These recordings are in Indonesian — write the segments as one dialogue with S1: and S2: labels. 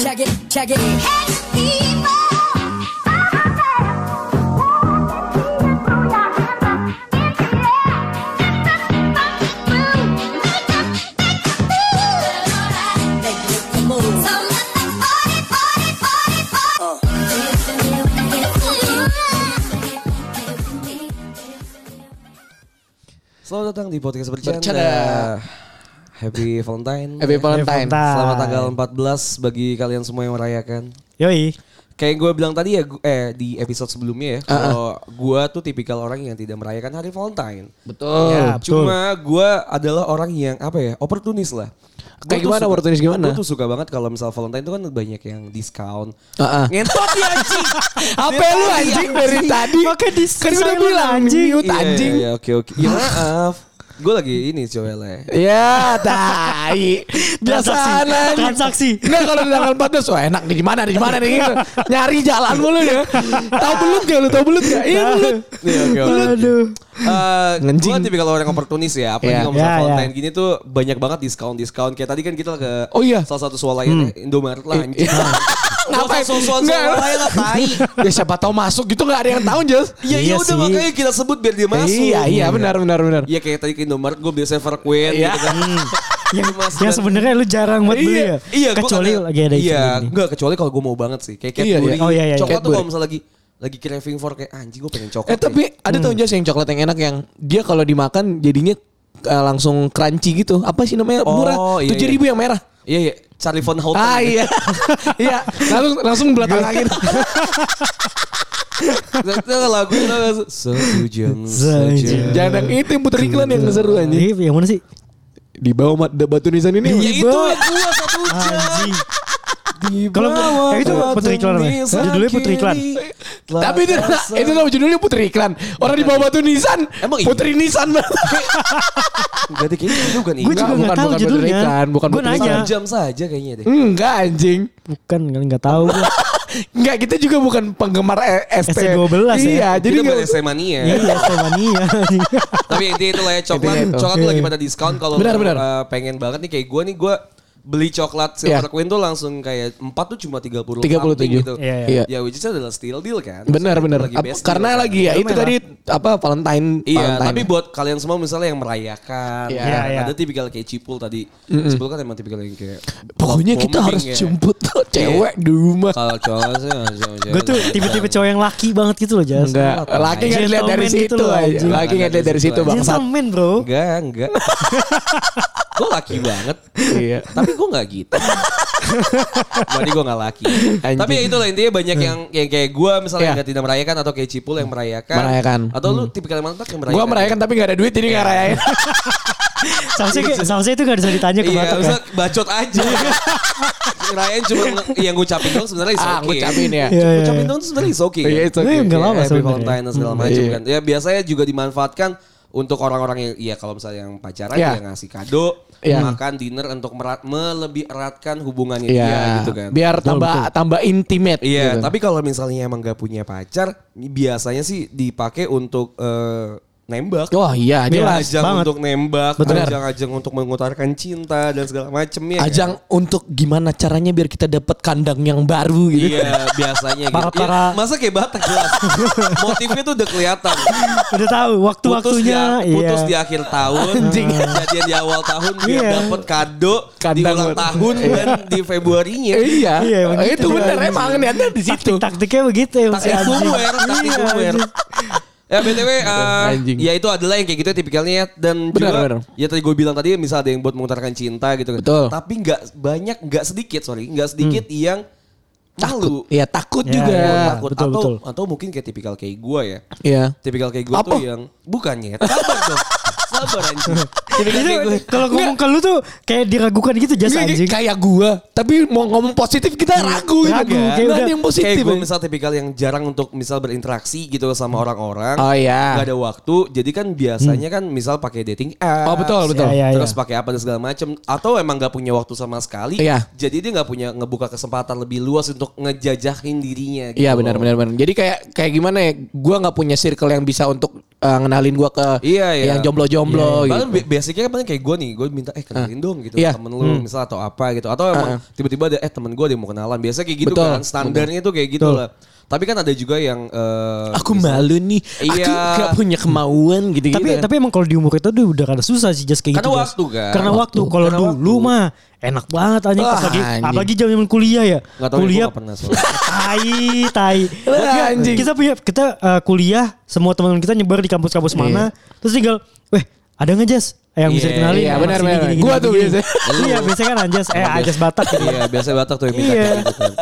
S1: Check it. Make it the move.
S2: Selamat datang di podcast bercanda.
S3: Bercanda.
S2: Happy Valentine.
S3: Happy Valentine.
S4: Valentine.
S2: Selamat tanggal 14 bagi kalian semua yang merayakan.
S4: Yoi.
S2: Kayak gue bilang tadi ya, gu- eh di episode sebelumnya ya,
S3: Ah,
S2: kalau gue tuh tipikal orang yang tidak merayakan hari Valentine.
S3: Ah, Betul.
S4: Ya, betul.
S2: Cuma gue adalah orang yang apa ya, oportunis lah.
S3: Kayak gimana oportunis gimana?
S2: Gue tuh suka banget kalau misal Valentine itu kan banyak yang diskon.
S3: Heeh.
S2: Ngentot ya anjing.
S3: Apa lu anjing dari tadi?
S4: Pakai
S3: Kan
S4: diskon
S3: udah
S4: silent
S3: bilang
S4: anjing.
S3: mute
S2: Iya, iya,
S3: anjing.
S2: iya, oke oke. Ya maaf. Gue lagi ini cewek
S3: Ya, tai. Biasaan
S4: Transaksi.
S3: anjing.
S4: Transaksi.
S3: Enggak kalau di tanggal 14, wah enak nih di mana nih, di mana nih
S2: Iya.
S3: gitu. Nyari jalan mulu ya. Tahu belut gak lu? Tahu belut gak?
S4: Ya.
S3: Iya belut.
S2: Iya, oke, oke.
S4: Aduh.
S2: Eh,
S3: Ngenjing.
S2: Gue tipikal orang oportunis ya Apalagi
S3: Iya.
S2: kalau misalnya
S4: Iya, iya.
S2: Valentine gini tuh Banyak banget diskon-diskon Kayak tadi kan kita ke
S3: Oh, iya.
S2: Salah satu swalayan Indomaret lah anjing Ya, Ngapain
S3: Ngapain?
S2: sosokan
S3: Enggak.
S2: swalayan lah tai
S3: Ya siapa tahu masuk gitu gak ada yang tahu, Jess.
S2: Ya iya
S4: Iya
S2: udah
S4: sih.
S2: makanya kita sebut biar dia masuk
S3: Iya, iya benar benar benar.
S2: Iya kayak tadi ke Indomaret gue beli Sever Queen gitu
S3: Iya.
S2: kan
S4: Yang,
S2: Cuma
S4: yang
S2: sembilan-
S4: ya, sebenarnya lu jarang buat beli ya.
S2: Iya, gua
S4: Kecuali
S2: kadang-
S4: lagi ada
S2: Iya,
S4: event ini.
S2: enggak kecuali kalau gue mau banget sih. Kayak
S3: Iya,
S2: Cadbury.
S3: iya.
S4: Oh, iya, iya, iya.
S2: Coklat tuh
S3: Cadbury.
S2: kalau misalnya lagi lagi craving for kayak anjing gue pengen coklat.
S3: Eh tapi ada tau
S2: Hmm.
S3: Jas yang coklat yang enak yang dia kalau dimakan jadinya eh, langsung crunchy gitu. Apa sih namanya?
S2: Oh,
S3: Murah.
S2: iya,
S3: Tujuh ribu yang merah.
S2: Iya, iya. Charlie Von Houten.
S3: Ah iya. iya, langsung langsung belakang angin.
S2: Itu lagu itu nggak sih? Sejam
S4: Sejam.
S2: saja.
S3: Jangan yang itu yang puter iklan yang seru anjing.
S4: Iya, yang mana sih?
S3: Di bawah mat- batu nisan ini.
S2: Ya itu yang
S4: Bang.
S2: gua satu jam.
S4: Anjing.
S2: Di
S4: Kalau-
S2: bawah
S4: eh, itu putri iklan namanya.
S2: batu
S4: Judulnya putri iklan.
S2: kiri telah
S3: Tapi itu
S2: terasa-
S3: itu nama judulnya puter iklan. Orang di bawah batu nisan.
S2: Emang iya?
S3: putri nisan.
S2: Berarti kayaknya itu bukan
S4: Gue
S2: iklan.
S4: juga
S3: bukan-
S4: nggak tahu
S3: bukan
S4: judulnya.
S3: Putri Iklan, bukan
S4: Gue
S3: Putri
S4: nanya.
S2: Sejam saja kayaknya deh.
S3: Enggak anjing.
S4: Bukan, kan nggak tahu. gua.
S3: Enggak kita juga bukan penggemar eh, ST.
S4: ST12 ya.
S3: Iya, jadi
S2: Kita bukan
S3: nggak-
S2: SMA mania.
S4: Iya, Slovenia.
S2: ya. Tapi intinya itu lah ya coklat,
S3: Intinya itu.
S2: coklat tuh lagi pada diskon kalau
S3: Iya, Benar, benar.
S2: eh, pengen banget nih kayak gue nih gue beli coklat Silver
S3: Iya.
S2: Queen tuh langsung kayak 4 tuh cuma 30 something
S3: 37.
S2: gitu.
S4: Iya,
S3: iya.
S2: Ya which is adalah steal deal kan.
S3: Benar
S2: Maksudnya
S3: benar.
S2: itu
S3: Apa-
S2: best
S3: Karena
S2: deal,
S3: lagi ya
S4: Itu
S3: itu
S4: merah.
S3: tadi apa Valentine.
S2: Iya,
S3: Valentine.
S2: tapi buat kalian semua misalnya yang merayakan,
S3: Iya.
S2: kan,
S4: Iya,
S2: ada
S4: iya.
S2: tipikal kayak cipul tadi. Cipul kan emang tipikal yang kayak
S3: pokoknya kita
S2: bombing
S3: harus
S2: ya.
S3: jemput tuh cewek di rumah.
S2: Kalau cowok sih
S4: Gue tuh tipe-tipe cowok yang laki banget gitu loh, Jas.
S3: Enggak,
S2: Gentleman.
S3: laki nggak dilihat dari
S4: Gentleman gitu
S3: situ
S4: loh,
S3: aja.
S4: anjing.
S3: Laki nggak dilihat dari situ bangsat.
S4: Gentleman, bro.
S2: Enggak, enggak. gue laki banget.
S3: Iya.
S2: Tapi gue gak gitu. Berarti gue gak laki.
S3: Anjing. Eh.
S2: Tapi ya itulah intinya banyak yang kayak, kayak gue misalnya
S3: Iya.
S2: yang tidak merayakan atau kayak Cipul yang merayakan.
S3: Merayakan. Hmm.
S2: Atau lu tipikal yang mana Tat, yang merayakan?
S3: Gua merayakan tapi nggak ada duit jadi
S4: Iya.
S3: nggak rayain.
S4: Seharusnya,
S3: Iya.
S4: seharusnya itu gak bisa ditanya ke
S2: Iya,
S4: Batak ya.
S2: maksudnya bacot aja. Ngerayain cuma nge- yang ngucapin dong sebenarnya is
S3: Ah,
S2: okay.
S3: ngucapin ya.
S4: Iya, iya,
S2: Ngucapin
S4: iya.
S2: dong sebenarnya is okay. kan?
S3: Iya, it's okay.
S4: Eh, nggak apa-apa
S2: Happy
S4: sebenarnya.
S2: Valentine dan segala macam
S3: Iya.
S2: kan. Ya biasanya juga dimanfaatkan untuk orang-orang yang iya kalau misalnya yang pacaran
S3: Iya.
S2: dia ngasih kado,
S3: Iya.
S2: makan dinner untuk merat, melebih eratkan hubungannya
S3: Iya,
S2: dia gitu kan.
S3: biar
S4: Betul,
S3: tambah
S4: betul.
S3: tambah intimate.
S2: Iya,
S3: gitu.
S2: tapi kalau misalnya emang gak punya pacar, biasanya sih dipakai untuk eh, nembak.
S3: wah iya
S4: Iya.
S3: jelas.
S2: ajang
S4: banget.
S2: untuk nembak,
S3: Betul.
S2: ajang-ajang untuk mengutarakan cinta dan segala macemnya. kan?
S3: Ajang untuk gimana caranya biar kita dapat kandang yang baru gitu.
S2: Iya biasanya gitu. Iya,
S4: Para-para-
S2: masa kayak batak jelas. Motifnya tuh udah kelihatan.
S4: Udah tahu
S2: Putus di,
S4: waktu-waktunya.
S3: ya.
S2: putus di
S4: iya.
S2: akhir tahun, jadian di awal tahun biar
S4: Iya.
S2: dapet kado di
S3: Kandang.
S2: ulang tahun dan di Februarinya.
S3: Iya,
S4: Iya, emang
S3: itu
S4: gitu.
S3: bener emang niatnya di situ.
S4: Taktik-taktiknya begitu ya. Iya,
S2: Taktik kumwer, taktik kumwer. Ya btw, eh,
S3: Iya, Anjing.
S2: ya itu adalah yang kayak gitu tipikalnya ya. dan
S3: Benar,
S2: juga
S3: benar.
S2: ya tadi gue bilang tadi misal ada yang buat mengutarakan cinta gitu.
S3: Betul.
S2: Tapi nggak banyak, nggak sedikit sorry, nggak sedikit yang
S3: Takut.
S2: malu.
S3: Iya, takut
S4: Iya,
S3: juga.
S4: iya,
S2: Takut.
S4: betul,
S2: atau
S4: betul.
S2: atau mungkin kayak tipikal kayak gue ya.
S3: Iya.
S2: Tipikal kayak gue
S3: Apa?
S2: tuh yang bukannya. Sabar dong. Sabar anjing.
S3: Iya,
S2: Tipikal kayak
S4: Itu
S2: gue.
S4: kalau ngomong ke lu tuh kayak diragukan gitu jas
S3: Nggak,
S4: anjing.
S3: Kayak gua, tapi mau ngomong positif kita ragu gitu.
S4: Ragu,
S3: Nggak
S4: kayak
S3: ada
S4: udah-
S3: yang positif.
S2: Kayak gue
S3: ya.
S2: misal tipikal yang jarang untuk misal berinteraksi gitu sama orang-orang.
S3: Oh, iya.
S2: Gak ada waktu. Jadi kan biasanya kan misal pakai dating apps.
S3: Hmm.
S2: ya.
S3: Oh, betul, betul.
S4: Iya, iya,
S2: Terus
S4: iya.
S2: pakai apa dan segala macam. Atau emang gak punya waktu sama sekali.
S3: Iya.
S2: Jadi dia gak punya ngebuka kesempatan lebih luas untuk ngejajahin dirinya.
S3: Iya
S2: gitu
S3: benar
S2: loh.
S3: benar benar. Jadi kayak kayak gimana ya? Gua nggak punya circle yang bisa untuk eh, ngenalin gua ke
S2: Iya, iya.
S3: yang jomblo-jomblo gitu.
S2: Bahkan bi- biasanya kan paling kayak gue nih, gue minta eh kenalin dong gitu
S3: Iya. Ah,
S2: temen lu misal atau apa gitu. Atau emang tiba-tiba ada eh temen gue ada yang mau kenalan. Biasanya kayak gitu
S3: Betul.
S2: kan, standarnya tuh kayak gitu lah. Tapi kan ada juga yang eh,
S3: Aku
S2: misal-
S3: malu nih, aku
S2: Iya.
S3: gak punya kemauan gitu-gitu.
S4: Tapi tapi emang kalau di umur itu udah udah rada susah sih just kayak
S2: gitu kan. Karena
S4: gitu. Bos.
S2: waktu, kan?
S4: Karena waktu.
S2: Waktu.
S4: Kalau
S2: Karena
S4: dulu
S2: waktu.
S4: mah enak banget anjing
S3: Wah,
S4: apalagi
S3: anjing.
S4: apalagi zaman kuliah ya.
S2: Nggak tahu ya, gua
S4: kuliah
S2: nggak pernah soalnya.
S4: tai tai.
S3: Lah,
S4: Kita-
S3: anjing.
S4: Kita punya kita eh, kuliah semua teman kita nyebar di kampus-kampus mana. Terus tinggal weh ada nggak Jas? Eh, yang
S2: Iya,
S4: bisa dikenalin
S3: iya,
S4: Yang
S3: benar,
S4: sini,
S3: benar.
S4: gini, gini,
S3: Gua tuh
S4: gini.
S3: biasanya.
S4: Iya biasanya kan Anjas Eh Anjas Batak gitu.
S2: Iya, biasanya Batak tuh yang minta
S4: Iya.
S2: kayak gitu kan.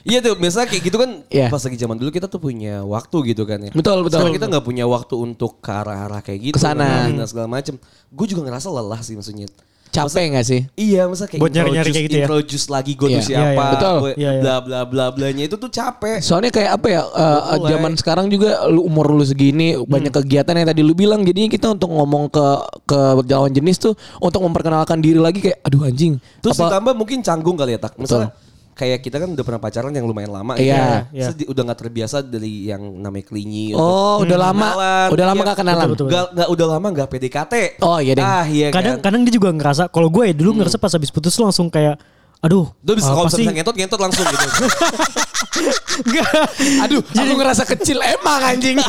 S2: Iya tuh, biasanya kayak gitu kan
S3: Iya.
S2: pas lagi zaman dulu kita tuh punya waktu gitu kan ya.
S3: Betul, betul.
S2: Sekarang kita nggak punya waktu untuk ke arah-arah kayak gitu.
S3: Kesana.
S2: kenalin Dan segala macem. Gue juga ngerasa lelah sih maksudnya.
S3: Capek gak sih?
S2: Iya, masa kayak
S4: Buat nyari-nyari kayak gitu ya?
S2: introduce lagi gue tuh
S3: Iya.
S2: siapa,
S4: Iya, iya.
S3: Betul.
S2: gua
S4: Iya, iya.
S2: bla bla bla blanya itu tuh capek.
S3: Soalnya kayak apa ya eh,
S2: Mulai. Hmm.
S3: zaman sekarang juga lu umur lu segini banyak kegiatan yang tadi lu bilang jadinya kita untuk ngomong ke ke lawan jenis tuh untuk memperkenalkan diri lagi kayak aduh anjing
S2: Terus
S3: apa
S2: ditambah mungkin canggung kali ya tak. Misalnya kayak kita kan udah pernah pacaran yang lumayan lama gitu
S3: Iya.
S2: ya.
S4: Iya.
S2: Sedi- udah nggak terbiasa dari yang namanya klingi
S3: oh udah lama
S2: Kenalan.
S3: udah lama
S2: Iya.
S3: gak kenalan
S4: Hmm. Betul, betul.
S2: Nggak nggak udah lama nggak PDKT.
S3: Oh, iya, Deng.
S2: Ah iya kan.
S4: kadang
S2: Hmm.
S4: kadang dia juga ngerasa kalau gue ya dulu ngerasa pas habis putus tuh langsung kayak aduh
S2: Lu bisa
S4: ah,
S2: kalau
S4: pasti
S2: misalnya ngentot ngentot langsung gitu.
S3: aduh aku ngerasa kecil emang anjing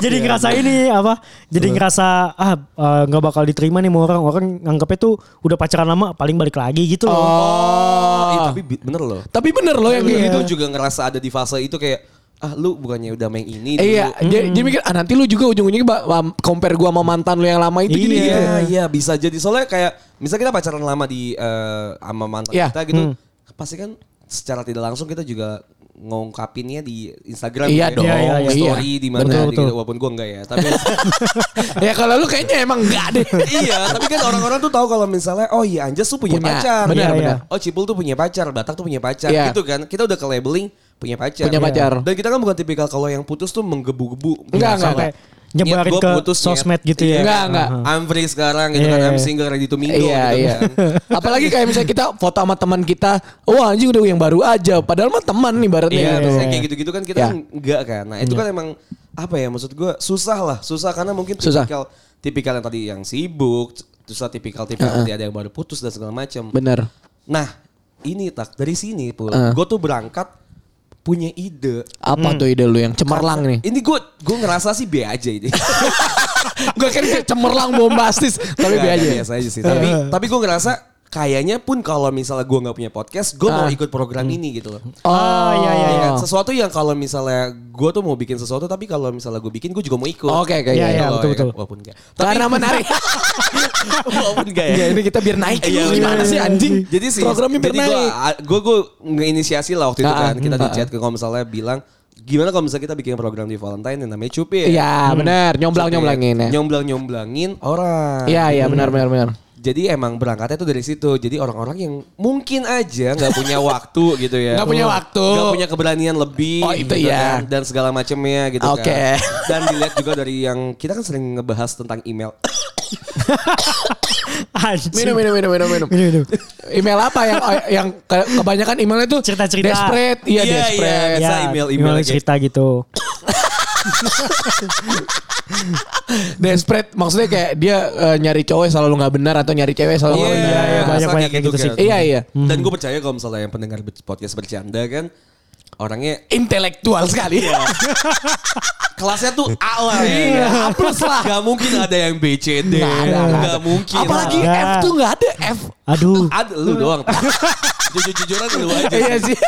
S4: jadi
S2: ya.
S4: ngerasa ini apa jadi ngerasa ah eh, nggak bakal diterima nih sama orang orang nganggapnya tuh udah pacaran lama paling balik lagi gitu loh
S2: Oh, iya,
S3: oh
S2: tapi bi- bener loh.
S3: tapi bener loh yang kayak
S2: Iya.
S3: gitu
S2: Itu juga ngerasa ada di fase itu kayak ah lu bukannya udah main ini dulu. Hmm.
S3: Iya, dia, dia mikir ah nanti lu juga ujung-ujungnya ba- ba- compare gua sama mantan lu yang lama itu gini
S2: Iya,
S3: gitu.
S2: iya bisa jadi soalnya kayak misal kita pacaran lama di eh, sama mantan
S3: Iya.
S2: kita gitu, pasti kan secara tidak langsung kita juga ngungkapinnya di Instagram
S3: Iya
S2: gitu
S3: dong,
S2: ya.
S4: Iya, iya,
S2: Di
S3: iya.
S2: story di mana
S4: Betul,
S2: di-
S4: betul.
S2: walaupun gua enggak ya, tapi
S3: ya kalau lu kayaknya emang enggak deh.
S2: iya, tapi kan orang-orang tuh tahu kalau misalnya oh iya Anjas tuh punya,
S3: Punya,
S2: pacar.
S3: benar,
S2: Iya,
S4: benar.
S2: iya. Oh Cipul tuh punya pacar, Batak tuh punya pacar
S3: Iya.
S2: gitu kan. Kita udah ke labeling punya pacar.
S3: Punya
S2: Iya.
S3: pacar.
S2: Dan kita kan bukan tipikal kalau yang putus tuh menggebu-gebu.
S3: Enggak, enggak,
S4: sampai
S3: enggak.
S4: nyebarin
S2: Nyet,
S4: ke
S2: gua putus,
S4: sosmed
S2: nyet.
S4: gitu ya
S2: Iya.
S3: Enggak, enggak.
S2: I'm free sekarang gitu
S4: Iya,
S2: kan, I'm
S4: iya.
S2: single ready to mingle
S3: Iya
S2: gitu
S3: iya.
S2: kan.
S3: Apalagi kayak misalnya kita foto sama teman kita, wah anjing udah yang baru aja. Padahal mah teman nih baratnya.
S2: Iya,
S3: gitu.
S2: biasanya kayak gitu-gitu kan kita
S3: Iya.
S2: enggak kan. Nah, itu kan emang apa ya maksud gua susah lah, susah karena mungkin
S3: Susah.
S2: tipikal tipikal yang tadi yang sibuk, terus tipikal tipikal nanti ada yang baru putus dan segala macam.
S3: Bener.
S2: Nah, ini tak dari sini pun
S3: Eh.
S2: gua tuh berangkat punya ide. Hmm.
S3: Apa tuh ide lu yang cemerlang nih?
S2: Ini gue gue ngerasa sih B aja ini.
S3: Gue kira kayak cemerlang bombastis, tapi
S2: Nggak,
S3: biasa.
S2: nggak, biasa aja sih. Tapi tapi gue ngerasa kayaknya pun kalau misalnya gue nggak punya podcast, gue
S3: Ah.
S2: mau ikut program
S3: Hmm.
S2: ini gitu loh.
S4: Ah, iya, iya,
S2: Iya
S4: iya.
S3: Oh.
S2: kan? Sesuatu yang kalau misalnya gue tuh mau bikin sesuatu tapi kalau misalnya gue bikin gue juga mau ikut.
S3: Oke,
S2: Gitu
S3: oke,
S2: loh,
S3: iya,
S4: iya,
S2: ya
S4: betul,
S2: kan?
S4: betul.
S2: Walaupun enggak.
S3: Karena menarik.
S2: walaupun enggak ya.
S3: Iya, ini kita biar naik.
S2: Iya,
S3: Gimana
S2: bener.
S3: sih anjing?
S2: Jadi sih
S3: programnya biar
S2: jadi
S3: naik.
S2: gue gue ngeinisiasi lah waktu itu
S3: Ah,
S2: kan kita
S3: hmm,
S2: di chat kalau misalnya bilang gimana kalau misalnya kita bikin program di Valentine yang namanya Cupid.
S3: Iya, bener.
S2: Hmm.
S3: Nyomblang nyomblangin ya.
S2: Nyomblang nyomblangin orang.
S3: Iya iya
S2: Hmm.
S3: benar benar benar.
S2: Jadi emang berangkatnya tuh dari situ. Jadi orang-orang yang mungkin aja nggak punya waktu gitu ya.
S3: Nggak punya waktu.
S2: Nggak punya keberanian lebih.
S3: Oh, itu
S2: gitu
S3: ya.
S2: kan. Dan segala macamnya gitu
S3: Oke.
S2: kan. Dan dilihat juga dari yang kita kan sering ngebahas tentang email.
S4: Anjing.
S3: Minum minum minum minum minum.
S4: Minum, minum.
S3: Email apa yang yang ke- kebanyakan emailnya tuh
S4: Cerita-cerita.
S3: Desperate, iya
S2: biasa
S3: desperate.
S4: Ya,
S2: email email kayak
S4: cerita gitu
S3: Desperate maksudnya kayak dia eh, nyari cowok yang selalu nggak benar atau nyari cewek yang selalu nggak
S4: iya,
S3: benar.
S4: iya,
S2: Iya,
S4: banyak- banyak kayak gitu sih.
S2: kan.
S3: Iya, iya.
S2: Dan gue percaya kalau misalnya yang pendengar podcast bercanda kan orangnya ya,
S3: Intelektual sekali.
S4: Iya.
S2: kelasnya tuh A lah.
S3: Iya, A plus lah.
S2: Gak mungkin ada yang B, C, D.
S3: Nggak ada, nggak ada.
S2: Gak mungkin.
S3: Apalagi
S4: Nggak.
S3: F tuh nggak ada F.
S4: aduh
S2: Ada lu doang. Jujur-jujuran lu aja.
S3: Iya sih.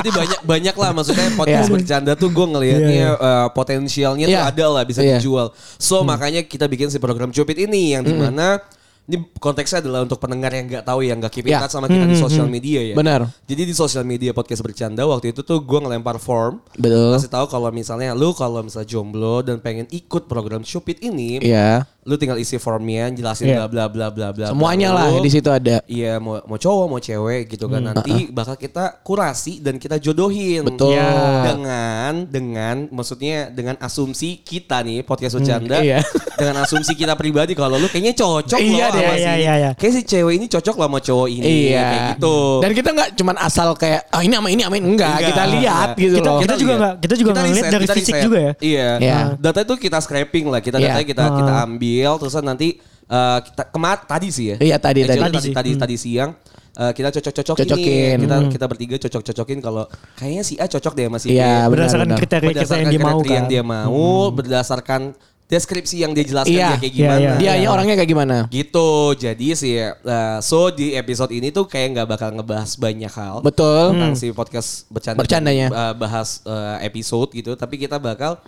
S2: Jadi banyak banyak lah maksudnya podcast
S4: Iya.
S2: bercanda tuh gue ngelihatnya eh, potensialnya
S3: Iya.
S2: tuh ada lah bisa
S3: Iya. Hmm.
S2: dijual. So makanya kita bikin si program Cupid ini yang dimana ini konteksnya adalah untuk pendengar yang nggak tahu yang nggak keep in
S3: Iya.
S2: touch sama kita di sosial media ya.
S3: Benar.
S2: Jadi di sosial media podcast bercanda waktu itu tuh gue ngelempar form
S3: Betul.
S2: kasih tahu kalau misalnya lu kalau misalnya jomblo dan pengen ikut program Cupid ini,
S3: Iya.
S2: lu tinggal isi formnya, jelasin
S4: Iya.
S2: bla bla bla bla bla.
S3: Semuanya lah
S2: Lu-
S3: di situ ada.
S2: Iya mau mau cowok mau cewek gitu kan nanti bakal kita kurasi dan kita jodohin.
S3: Betul.
S4: Iya.
S2: Dengan dengan maksudnya dengan asumsi kita nih podcast bercanda
S3: iya.
S2: dengan asumsi kita pribadi kalau lu kayaknya cocok
S3: Iya
S2: loh
S3: deh.
S2: sama
S4: Iya,
S2: si
S4: iya, iya.
S2: Kayak si cewek ini cocok lah sama cowok ini.
S3: Iya.
S2: Kayak gitu.
S3: Dan kita nggak cuman asal kayak ah ini sama ini sama ini enggak,
S2: Enggak,
S3: kita lihat
S2: enggak.
S3: gitu
S4: Kita-
S3: loh.
S4: kita- juga
S2: lihat.
S4: nggak- kita juga nggak ngeliat
S2: riset,
S4: dari
S2: kita
S4: fisik
S2: riset.
S4: juga ya.
S2: Iya.
S3: Iya.
S2: Data itu kita scraping lah, kita
S3: Iya.
S2: datanya kita kita
S4: Ah.
S2: ambil terus nanti eh, kita kema- tadi sih ya.
S3: Iya, tadi,
S2: Actually,
S3: tadi.
S2: tadi
S4: sih.
S2: tadi, tadi siang eh, kita cocok-cocokin
S3: Cocokin.
S2: nih. Kita
S4: Hmm.
S2: kita bertiga cocok-cocokin kalau kayaknya si A cocok deh sama si B.
S3: Iya, benar,
S4: berdasarkan
S3: benar.
S4: kriteria kita yang dia mau
S2: kriteria
S4: kan.
S2: yang dia mau, berdasarkan deskripsi yang dia jelaskan
S3: Iya.
S2: dia kayak
S4: Iya,
S2: gimana.
S4: iya.
S3: Dia ya orangnya kayak gimana?
S2: Gitu, jadi sih eh, so di episode ini tuh kayak nggak bakal ngebahas banyak hal
S3: Betul.
S4: Hmm.
S2: tentang si podcast bercanda
S3: Bercandanya.
S2: eh, bahas eh, episode gitu, tapi kita bakal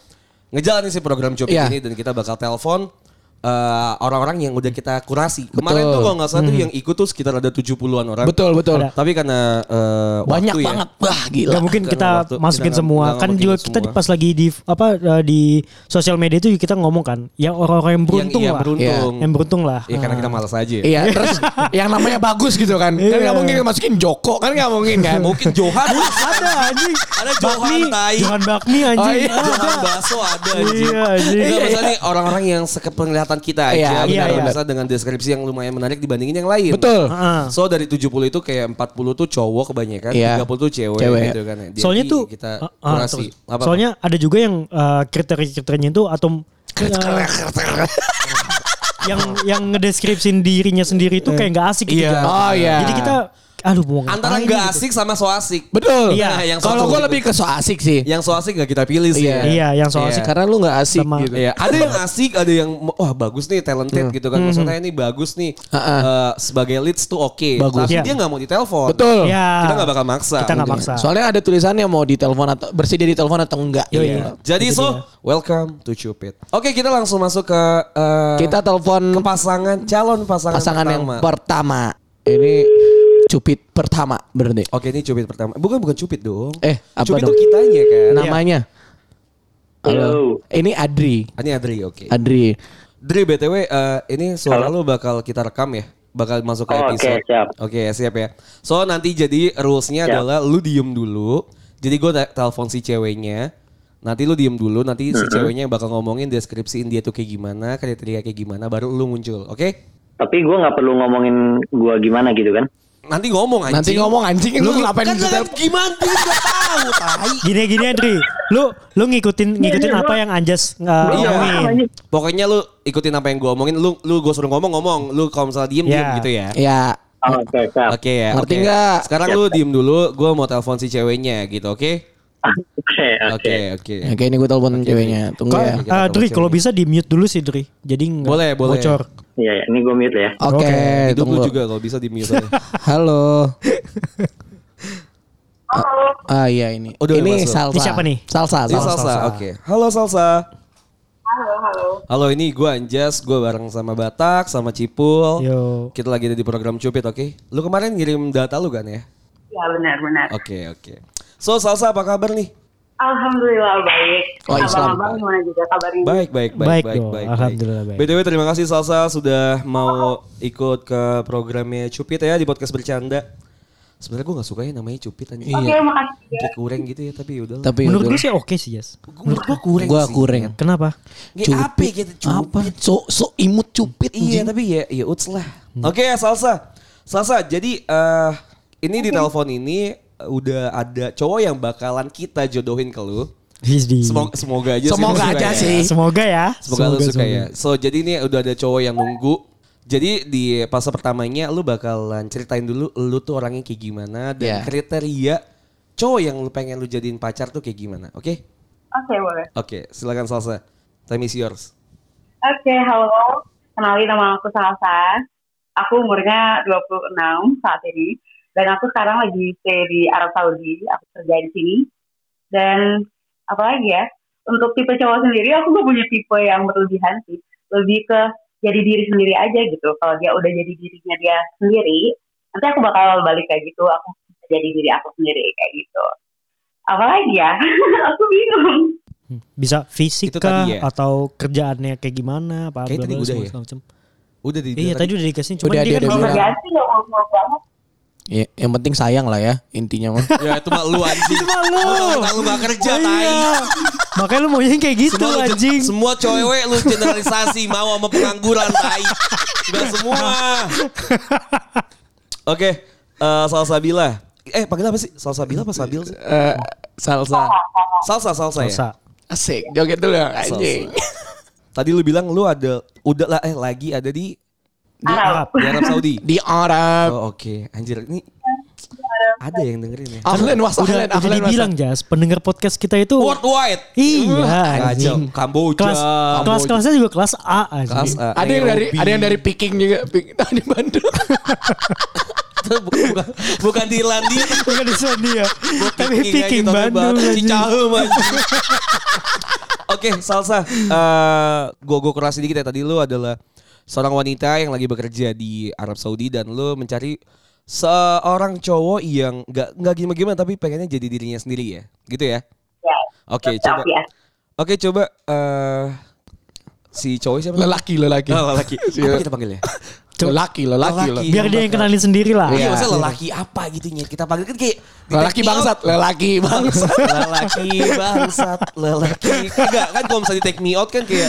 S2: ngejalanin si program Jopik
S3: Iya.
S2: ini dan kita bakal telepon eh, orang-orang yang udah kita kurasi. Kemarin
S3: Betul.
S2: tuh kalau nggak salah tuh yang ikut tuh sekitar ada 70-an orang.
S3: Betul, betul.
S4: Ada.
S2: Tapi karena eh,
S3: Banyak
S2: waktu ya,
S3: banget. Wah, gila.
S4: Gak mungkin
S2: Karena
S4: kita
S2: waktu kita
S4: masukin
S2: nggak-
S4: semua.
S2: nggak
S4: Kan
S2: masukin
S4: juga kita
S2: semua.
S4: pas lagi di apa eh, di sosial media itu kita ngomong kan, yang orang-orang yang beruntung
S2: yang, iya,
S4: lah.
S2: beruntung.
S4: Yang beruntung lah.
S2: Ya karena kita malas aja.
S3: Iya, terus yang namanya bagus gitu kan. Kan
S4: Iya.
S3: nggak mungkin masukin Joko, kan nggak mungkin kan.
S2: Mungkin Johan
S4: ada anjing.
S2: Ada Johan tai.
S4: Johan Bakmi
S3: Oh,
S4: anjing.
S3: iya.
S2: Johan Baso ada anjing.
S4: Iya, anjing.
S2: Enggak, maksudnya nih, orang-orang yang sekepenglihatan kita aja.
S3: Iya,
S2: benar,
S4: iya, iya.
S2: misalnya dengan deskripsi yang lumayan menarik dibandingin yang lain.
S3: Betul.
S4: Heeh.
S2: So dari 70 itu kayak 40 tuh cowok kebanyakan,
S3: Iya.
S2: 30 tuh cewek,
S3: Cewek.
S2: gitu kan. ya. Jadi
S4: soalnya tuh
S2: kita
S4: ah, ah,
S2: kurasi.
S4: terus.
S2: Apa-apa?
S4: soalnya ada juga yang eh, kriteria-kriterianya itu atau eh, yang yang ngedeskripsin dirinya sendiri itu kayak nggak asik gitu.
S3: Iya.
S4: Jan.
S3: Oh, iya.
S4: Jadi kita aduh mau ngapain
S2: antara nggak
S4: gitu.
S2: asik sama so asik.
S3: Betul.
S4: Iya.
S2: Nah, yang
S3: Kalau
S2: satu
S3: gue
S2: itu.
S3: lebih ke so asik sih.
S2: yang so asik nggak kita pilih sih. ya.
S3: Iya.
S4: Iya, yang so
S3: Iya.
S4: asik.
S3: Karena lu nggak asik
S4: Sama-
S3: gitu.
S2: Iya, ada yang asik, ada yang wah bagus nih, talented gitu kan.
S4: Hmm.
S2: Maksudnya ini bagus nih.
S3: Hmm. Heeh.
S2: Eh, sebagai leads tuh oke, tapi
S3: Bagus.
S4: Iya.
S2: dia nggak mau ditelepon.
S3: Betul.
S4: Iya.
S2: Kita nggak bakal ya. maksa. gitu.
S4: Kita nggak maksa.
S3: Soalnya ada tulisannya mau ditelepon atau bersedia ditelepon atau enggak.
S4: Yoi.
S3: Iya.
S2: Jadi so, welcome to Cupid. Oke, kita langsung masuk ke eh,
S3: Kita
S2: ke
S3: telepon
S2: pasangan calon pasangan,
S3: pasangan yang
S2: pertama.
S3: pertama. Ini cupid pertama berarti.
S2: Oke, ini Cupid pertama. Bukan bukan Cupid dong.
S3: Eh, apa
S2: Cupid
S3: dong? Nah.
S2: tuh kitanya
S4: Iya.
S2: kan.
S3: Namanya. Halo. Ini Adri.
S2: Ini Adri, oke.
S3: Adri.
S2: Adri BTW eh, ini suara lu bakal kita rekam ya. Bakal masuk ke
S1: Oh, oke,
S2: episode.
S1: siap.
S2: Oke, siap ya. So, nanti jadi rules-nya adalah lu diem dulu. Jadi gue telepon si ceweknya. Nanti lu diem dulu, nanti si ceweknya yang bakal ngomongin deskripsiin dia tuh kayak gimana, kriteria kayak gimana, baru lu muncul, oke?
S1: Tapi gue nggak perlu ngomongin gue gimana gitu kan?
S2: Nanti ngomong anjing.
S3: Nanti ngomong anjing lu ngapain
S2: kan
S3: ditelepon?
S2: gimana dia nggak tahu tai.
S4: Gini gini Adri, lu lu ngikutin ngikutin apa yang Anjas eh,
S1: Iya.
S4: omongin.
S2: gitu, Pokoknya lu ikutin apa yang gua omongin, lu lu gua suruh ngomong ngomong, lu kalau misalnya diem diem
S4: Ya.
S2: gitu ya.
S3: Ya.
S1: Oh, Oke, siap.
S2: Oke ya.
S3: Ngerti
S2: oke.
S3: nggak?
S2: Sekarang
S1: Iya.
S2: lu diem dulu, gua mau telepon si ceweknya gitu, oke?
S1: Oke, oke.
S2: Oke, oke.
S3: Oke ini gue telepon ceweknya. Tunggu ya.
S2: Oke,
S4: Eh,
S2: kita
S4: Dri,
S2: baca
S4: kalau
S2: dulu.
S4: bisa di mute dulu sih Dri. Jadi nggak
S2: Boleh, boleh.
S4: bocor.
S1: Iya, iya. ini gue mute ya.
S3: Oke,
S4: Oke,
S2: Hidup lu
S3: Eh, tunggu.
S2: juga kalau bisa gitu. di mute aja.
S3: Halo. Ah, ah, iya ini.
S2: Udah,
S3: ini
S2: masuk.
S3: salsa.
S4: Ini siapa nih?
S3: Salsa.
S2: Ini
S3: salsa.
S2: Salsa, oke. Halo Salsa. Halo, halo. Halo, ini gua Anjas, gua bareng sama Batak, sama Cipul.
S4: Yo.
S2: Kita lagi ada di program Cupid, oke? Lu kemarin ngirim data lu kan ya?
S5: Ya benar-benar.
S2: Oke, oke. So, Salsa apa kabar nih?
S5: Alhamdulillah baik.
S3: Oh, Islam,
S5: Abang-abang gimana juga kabarnya?
S2: Baik, baik, baik,
S4: Baik
S2: baik,
S4: dong,
S2: baik.
S4: alhamdulillah baik.
S2: BTW terima kasih Salsa sudah mau ikut ke programnya Cupid ya di podcast bercanda. Sebenarnya gue gak suka ya namanya Cupid anjing.
S5: Oke, makasih.
S2: Kayak kurang gitu ya tapi udah.
S3: Tapi
S4: Menurut
S3: udah.
S4: gue sih oke sih Jas.
S2: menurut gue kurang
S3: gua
S2: sih.
S3: kurang.
S4: Kenapa?
S2: Kayak apa gitu Cupid.
S3: Apa? So so imut cupid.
S2: Iya tapi ya ya uts lah. Oke ya, Salsa. Salsa jadi eh ini di telepon ini eh, udah ada cowok yang bakalan kita jodohin ke lu.
S4: Hizdi.
S2: Semoga, Iya. semoga aja sih. lu suka ya.
S3: Semoga aja sih.
S4: Semoga ya.
S2: Semoga, lu suka ya. So jadi ini udah ada cowok yang nunggu. Jadi di fase pertamanya lu bakalan ceritain dulu lu tuh orangnya kayak gimana dan
S3: Yeah.
S2: kriteria cowok yang lu pengen lu jadiin pacar tuh kayak gimana. Oke?
S5: Oke, boleh.
S2: Oke, silakan Salsa. Time is yours.
S5: Oke, halo. Kenalin nama aku Salsa. Aku umurnya 26 saat ini. Dan aku sekarang lagi stay di Arab Saudi. Aku kerja di sini. Dan apalagi ya, untuk tipe cowok sendiri aku gak punya tipe yang berlebihan sih. Lebih ke jadi diri sendiri aja gitu. Kalau dia udah jadi dirinya dia sendiri, nanti aku bakal balik kayak gitu. Aku jadi diri aku sendiri kayak gitu. Apalagi ya, aku bingung.
S4: Bisa
S2: Itu
S4: fisika
S2: tadi ya.
S4: atau kerjaannya kayak gimana
S2: Kayaknya
S4: apa
S2: tadi
S4: blablabla,
S2: udah
S4: semua
S2: ya.
S4: segala macam.
S2: Udah di
S4: Iya tadi udah dikasih cuman
S3: Udah ada
S4: dia kan
S5: Kalau
S3: yang
S4: belum-
S3: bilang.
S5: kerjaan sih gak mau banget.
S3: Ya, yang penting sayang lah ya intinya mah.
S2: Ya itu mah lu anjing.
S4: mah gitu, lu.
S2: Otak lu gak kerja tai.
S4: Iya. Makanya lu maunya yang kayak gitu
S2: Semua, lu-
S4: anjing.
S2: semua cewek lu generalisasi mau sama pengangguran tai. Enggak semua. Oke, eh, Salsabila. Eh panggil apa sih? Salsabila apa Sabil sih?
S3: Eh, salsa.
S2: Salsa, salsa, ya.
S4: Masa?
S3: Asik, joget dulu dong, anjing.
S2: Tadi lu bilang lu ada udah lah eh lagi ada di
S6: Arab.
S2: di Arab Saudi.
S3: Di Arab.
S2: Oh, oke. Anjir, ini ada yang dengerin ya.
S3: Ahlan was
S4: Udah,
S3: ahlan,
S4: udah
S3: ahlan was.
S4: dibilang Jas, pendengar podcast kita itu
S2: Worldwide.
S4: Iya
S2: Kacau.
S4: anjing.
S2: Kamboja.
S4: Kelas kelas-kelasnya juga kelas A anjing.
S2: Kelas A,
S3: Ada yang dari
S2: Nairobi.
S3: ada yang dari Peking juga, Peking di Bandung.
S2: bukan, bukan di Irlandia.
S4: Bukan di Slandia. Tapi
S2: Peking aja,
S4: Peking
S2: tapi
S4: Bandung
S2: Bandung,
S4: anjing.
S2: Cicahem anjing. Oke, Salsa. eh gua gua keras sedikit ya tadi lu adalah seorang wanita yang lagi bekerja di Arab Saudi dan lu mencari seorang cowok yang nggak nggak gimana-gimana tapi pengennya jadi dirinya sendiri ya. Gitu ya.
S6: Ya.
S2: Oke, coba.
S6: tetap ya.
S2: Oke, coba eh si cowok siapa?
S3: Lelaki, lelaki.
S2: Oh, lelaki. Apa kita panggilnya?
S3: Lelaki, lelaki, lelaki.
S4: Biar dia yang kenalin sendiri lah.
S2: Iya,
S3: Iya.
S2: maksudnya lelaki apa gitu nyet. Kita panggil kan kayak
S3: Lelaki
S2: di take me
S3: bangsat,
S2: out.
S3: lelaki bangsat.
S2: lelaki bangsat, lelaki. Enggak kan kalau misalnya di take me out kan kayak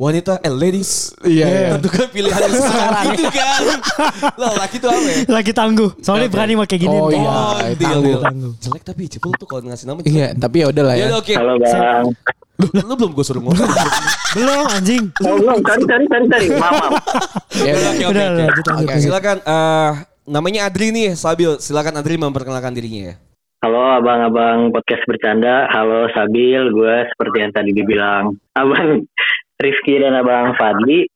S2: wanita eh ladies.
S3: Iya, iya.
S2: Tentu kan pilihan yang sekarang itu kan. Lelaki tuh apa ya?
S4: Lagi tangguh. Soalnya berani pakai gini.
S3: Oh, iya.
S2: deal,
S3: tangguh.
S2: deal. Jelek tapi cepul tuh kalau ngasih nama. jelek.
S3: Iya, tapi ya udahlah ya.
S2: Ya udah, oke.
S7: Halo bang.
S2: Lu, lu belum gue suruh ngomong.
S4: Belum anjing.
S7: Oh, belum. Cari, cari, cari, cari. Maaf, maaf.
S3: Ya udah.
S2: Oke, oke,
S4: Udah,
S2: oke.
S4: lanjut, lanjut,
S2: Oke,
S4: lanjut.
S2: Silakan eh, namanya Adri nih, Sabil. Silakan Adri memperkenalkan dirinya ya.
S7: Halo abang-abang podcast bercanda. Halo Sabil, gue seperti yang tadi dibilang abang Rifki dan abang Fadli.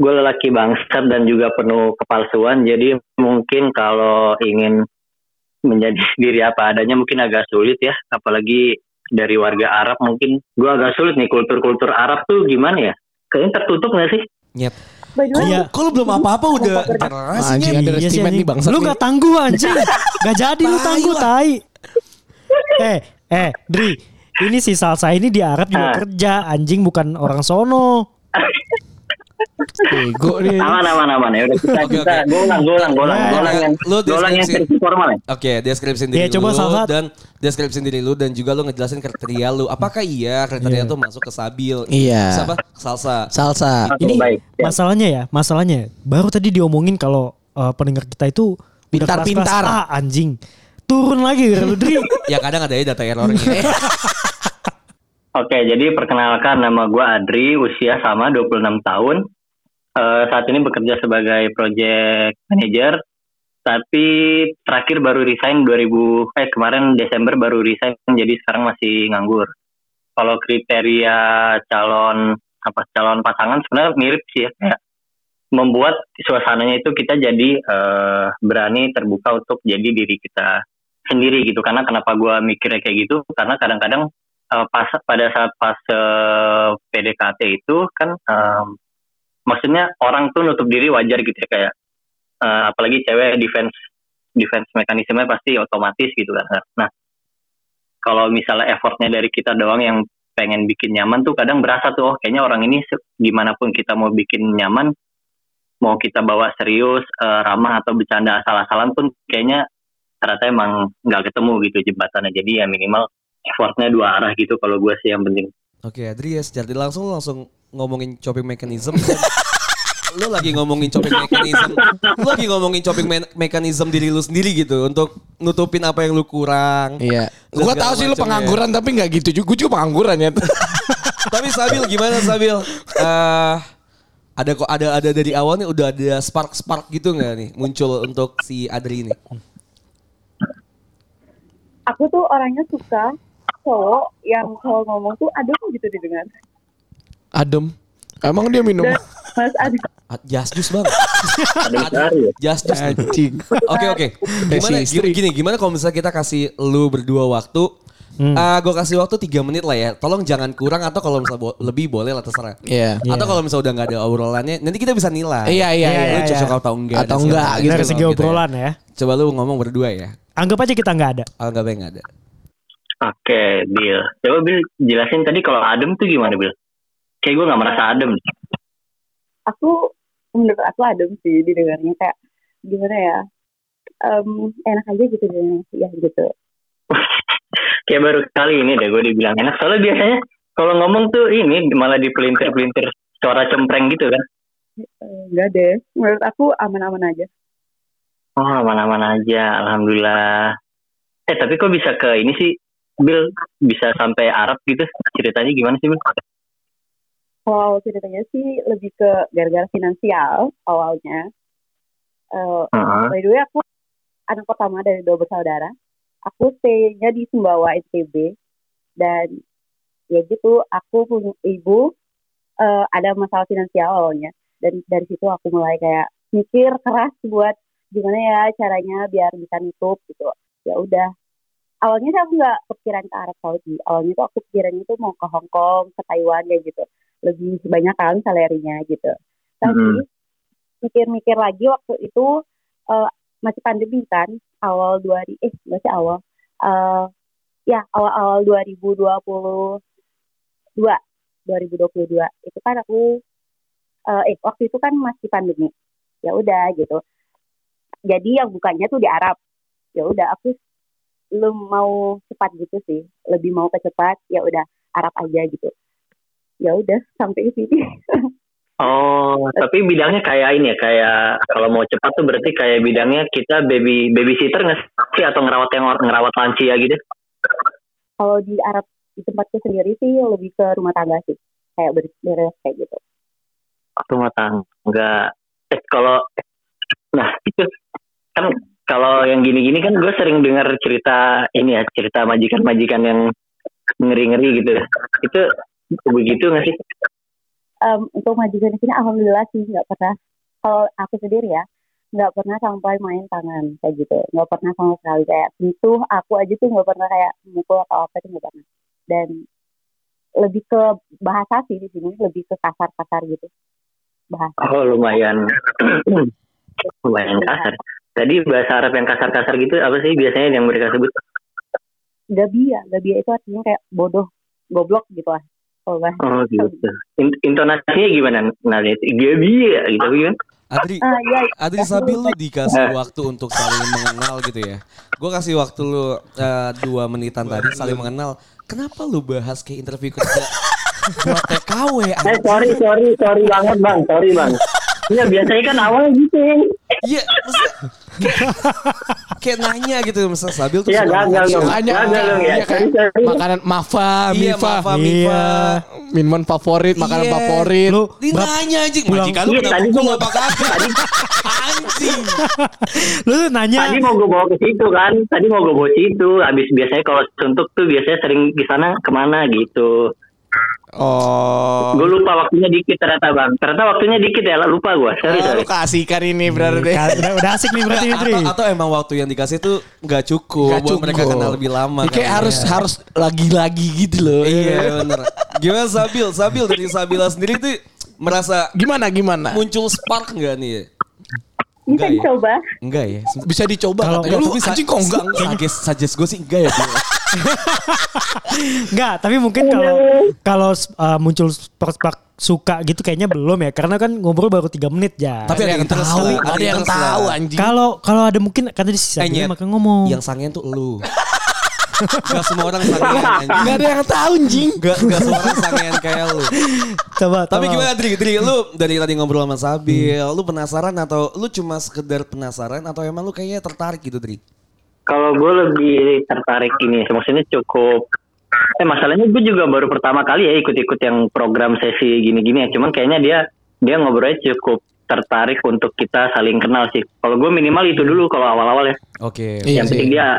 S7: Gue lelaki bangsat dan juga penuh kepalsuan. Jadi mungkin kalau ingin menjadi diri apa adanya mungkin agak sulit ya. Apalagi dari warga Arab mungkin gue agak sulit nih kultur-kultur Arab tuh gimana ya? Kayaknya tertutup gak sih?
S2: Nyet.
S6: By the way,
S4: Iya.
S2: Kok lu belum apa-apa udah
S3: Anjing
S4: Iya
S3: ada
S4: sih,
S3: restimen
S4: anjing.
S3: nih bangsat.
S4: Lu
S3: nih.
S4: gak tangguh anjing. gak jadi lu
S2: Tai
S4: tangguh
S2: lah.
S4: tai. Eh, eh, Dri. Ini si Salsa ini di Arab juga
S7: Ah.
S4: kerja. Anjing bukan orang sono.
S3: Bego nih.
S7: Aman aman aman ya udah kita
S2: Oke,
S7: kita
S2: oke.
S7: golang golang golang
S2: Iya. Nah,
S7: golang yang
S2: lu
S7: golang yang
S2: deskripsi.
S7: versi formal ya.
S2: Oke, deskripsi diri
S4: Iya, coba
S2: lu
S4: Salsa.
S2: dan deskripsi diri lu dan juga lu ngejelasin kriteria lu. Apakah iya kriteria
S4: Iya.
S2: tuh masuk ke Sabil?
S3: Iya.
S2: Siapa? Salsa.
S3: Salsa.
S7: Oke,
S4: Ini
S7: baik. Ya.
S4: masalahnya ya, masalahnya. Baru tadi diomongin kalau uh, pendengar kita itu udah
S3: Pintar-pintar.
S4: kelas-kelas A, anjing. Turun lagi gara lu Dri.
S2: Ya kadang ada ya data errornya.
S7: Oke, jadi perkenalkan nama gua Adri, usia sama 26 tahun. Eh, saat ini bekerja sebagai project manager, tapi terakhir baru resign 2000, eh kemarin Desember baru resign, jadi sekarang masih nganggur. Kalau kriteria calon apa calon pasangan sebenarnya mirip sih ya. Kayak membuat suasananya itu kita jadi eh, berani terbuka untuk jadi diri kita sendiri gitu. Karena kenapa gua mikirnya kayak gitu? Karena kadang-kadang eh, pas pada saat pas PDKT itu kan em, maksudnya orang tuh nutup diri wajar gitu ya kayak eh, apalagi cewek defense defense mekanisme pasti otomatis gitu kan. Nah, kalau misalnya effortnya dari kita doang yang pengen bikin nyaman tuh kadang berasa tuh oh kayaknya orang ini se- gimana pun kita mau bikin nyaman mau kita bawa serius eh, ramah atau bercanda asal-asalan pun kayaknya ternyata emang nggak ketemu gitu jembatannya jadi ya minimal effortnya dua arah gitu kalau gue sih yang penting.
S2: Oke, Adri ya secara tidak langsung lu langsung ngomongin chopping mechanism. lu lagi ngomongin chopping mechanism. Lu lagi ngomongin chopping me- mechanism diri lu sendiri gitu untuk nutupin apa yang lu kurang.
S3: Iya.
S2: Dan
S3: Gua
S2: segala
S3: tahu sih
S2: macam
S3: lu
S2: ya.
S3: pengangguran tapi nggak gitu juga. Gua juga pengangguran ya.
S2: Tapi Sabil gimana Sabil? Eh ada kok ada ada dari awal nih udah ada spark spark gitu nggak nih muncul untuk si Adri ini?
S6: aku tuh orangnya suka cowok yang kalau ngomong tuh adem gitu didengar.
S3: Adem. Emang dia minum?
S6: Dan Mas Adit
S2: Ah, Jas jus bang.
S7: Ada yang baru ya?
S2: Jas jus. nih.
S3: Anjing.
S2: Oke oke. Gimana
S3: Kasih istri.
S2: gini, gini, gimana kalau misalnya kita kasih lu berdua waktu
S3: Hmm.
S2: Ah, gue kasih waktu 3 menit lah ya. Tolong jangan kurang atau kalau misalnya bo- lebih boleh lah terserah.
S3: Iya.
S2: Atau kalau misalnya udah nggak ada obrolannya, nanti kita bisa nilai.
S3: Iya, iya,
S4: Iya,
S3: iya.
S2: Lu cocok atau enggak?
S3: Atau
S2: dan segala
S3: enggak,
S2: macam
S3: gitu.
S4: Dari
S2: ya.
S4: segi obrolan ya.
S2: Coba lu ngomong berdua ya.
S4: Anggap aja kita nggak ada.
S2: Anggap aja nggak ada.
S7: Oke, Bill. Coba Bill jelasin tadi kalau adem tuh gimana Bill? Kayak gue nggak merasa adem.
S6: aku menurut aku adem sih didengarnya kayak gimana ya
S5: em, enak aja gitu deh ya gitu
S7: Kayak baru kali ini deh gue dibilang enak. Soalnya biasanya kalau ngomong tuh ini malah dipelintir-pelintir suara cempreng gitu kan.
S5: Eh, enggak deh menurut aku aman-aman aja
S7: Oh aman-aman aja, alhamdulillah. Eh tapi kok bisa ke ini sih, Bil bisa sampai Arab gitu? Ceritanya gimana sih, Bil?
S5: kalau ceritanya sih lebih ke gara-gara finansial awalnya Eh,
S7: Heeh.
S5: By the way, aku anak pertama dari dua bersaudara. Aku stay-nya di Sumbawa, NTB. Dan ya gitu, aku punya ibu eh, ada masalah finansial awalnya. Dan dari situ aku mulai kayak mikir keras buat gimana ya caranya biar bisa nutup gitu. Ya udah. Awalnya sih aku nggak kepikiran ke Arab Saudi. Awalnya tuh aku pikirannya tuh mau ke Hong Kong, ke Taiwan ya gitu. Lebih banyak kan salarinya gitu. Tapi mikir-mikir lagi waktu itu eh, masih pandemi kan awal 2000 eh masih awal eh ya awal-awal 2022 2022 itu kan aku eh, eh waktu itu kan masih pandemi ya udah gitu jadi yang bukannya tuh di Arab ya udah aku belum mau cepat gitu sih lebih mau ke cepat ya udah Arab aja gitu ya udah sampai di sini
S7: Oh, tapi bidangnya kayak ini ya, kayak kalau mau cepat tuh berarti kayak bidangnya kita baby babysitter nggak sih atau ngerawat yang ngerawat lansia gitu?
S5: kalau di Arab di tempatku sendiri sih lebih ke rumah tangga sih kayak beres-beres kayak gitu
S7: Rumah tangga. Eh kalau nah itu kan kalau yang gini-gini kan gue sering dengar cerita ini ya cerita majikan-majikan yang ngeri-ngeri gitu. Itu begitu nggak sih?
S5: Em, untuk majikan di sini alhamdulillah sih nggak pernah kalau aku sendiri ya nggak pernah sampai main tangan kayak gitu nggak pernah sama sekali kayak sentuh aku aja tuh nggak pernah kayak mukul atau apa tuh nggak pernah dan lebih ke bahasa sih di sini lebih ke kasar-kasar gitu bahasa
S7: Oh lumayan lumayan kasar. Tadi bahasa Arab yang kasar-kasar gitu apa sih biasanya yang mereka sebut?
S5: gabia gabia itu artinya kayak bodoh goblok gitu lah kalau bahasa
S7: Oh gitu. In- intonasinya gimana? Nah, itu Gabi gitu kan?
S2: Adri,
S5: Ah, iya,
S2: Adri Sabil lu dikasih waktu untuk saling mengenal gitu ya. Gue kasih waktu lu eh, dua menitan tadi saling mengenal. Kenapa lu bahas ke interview kerja buat TKW?
S7: Eh
S2: anjing?
S7: sorry sorry sorry banget bang, sorry bang. Iya biasanya kan awalnya gitu.
S2: Iya, maksudnya kayak- kayak nanya gitu, maksudnya Sabil tuh
S7: Iya
S2: suka
S7: gagal dong,
S2: mengenal.
S3: Tanya,
S7: gagal dong ya.
S3: iya,
S7: Sorry,
S3: kayak
S7: sorry.
S3: makanan mafa,
S2: Iya,
S3: mifa,
S2: Mafa, Mifa.
S3: minuman favorit, makanan
S2: Iya.
S3: favorit.
S4: Lu
S2: Ini
S4: bab-
S2: nanya anjing,
S4: pulang-
S2: majikan lu
S7: Iya,
S2: kenapa
S7: tadi
S2: gue
S7: gua-
S2: gak pakai Anjing.
S4: Lu tuh nanya
S7: Tadi mau gue bawa ke situ kan, tadi mau gue bawa ke situ. Abis biasanya kalau suntuk tuh biasanya sering ke sana kemana gitu.
S3: Oh.
S7: Gue lupa waktunya dikit ternyata bang. Ternyata waktunya dikit ya, lupa gue. Sorry
S3: Ah,
S7: sorry.
S3: lu kasihkan ini berarti.
S4: Ka- Iya, udah, udah asik nih berarti Idri.
S2: Atau, atau emang waktu yang dikasih tuh gak cukup,
S3: Gak
S2: buat mereka
S3: cukup.
S2: kenal lebih lama.
S3: Kayak
S2: kayaknya.
S3: harus harus lagi-lagi gitu loh.
S2: Iya bener. Gimana Sabil? Sabil dari Sabila sendiri tuh merasa
S3: Gimana gimana?
S2: muncul spark nggak nih?
S5: bisa
S2: Enggak ya?
S5: dicoba
S2: Enggak ya.
S3: Bisa dicoba
S4: Kalau
S3: katanya.
S4: enggak,
S3: Lu anjing kok enggak?
S2: Sages, sages gue sih enggak ya. Bil.
S4: Enggak, tapi mungkin kalau kalau uh, muncul spark suka gitu kayaknya belum ya. Karena kan ngobrol baru tiga menit ya.
S2: Tapi ada yang interest
S3: tahu,
S2: lah,
S3: ada yang
S2: interest
S3: tahu
S2: lah.
S3: anjing.
S4: kalau kalau ada mungkin kan kata di
S2: Eh,
S4: sisa
S2: Nyet,
S4: maka ngomong.
S2: Yang sangean tuh lu. Gak semua orang sangean
S3: Enggak
S2: anjing.
S3: ada yang tahu anjing.
S2: Gak, gak semua orang sangean kayak lu.
S4: Coba.
S2: Tapi
S4: coba.
S2: gimana Dri? Dri, lu dari tadi ngobrol sama Sabil, lu penasaran atau lu cuma sekedar penasaran atau emang lu kayaknya tertarik gitu Dri?
S7: Kalau gue lebih tertarik ini, maksudnya cukup. Eh masalahnya gue juga baru pertama kali ya ikut-ikut yang program sesi gini-gini ya. Cuman kayaknya dia dia ngobrolnya cukup tertarik untuk kita saling kenal sih. Kalau gue minimal itu dulu kalau awal-awal ya.
S2: Oke.
S3: Iya
S7: yang
S3: sih.
S7: penting dia ya.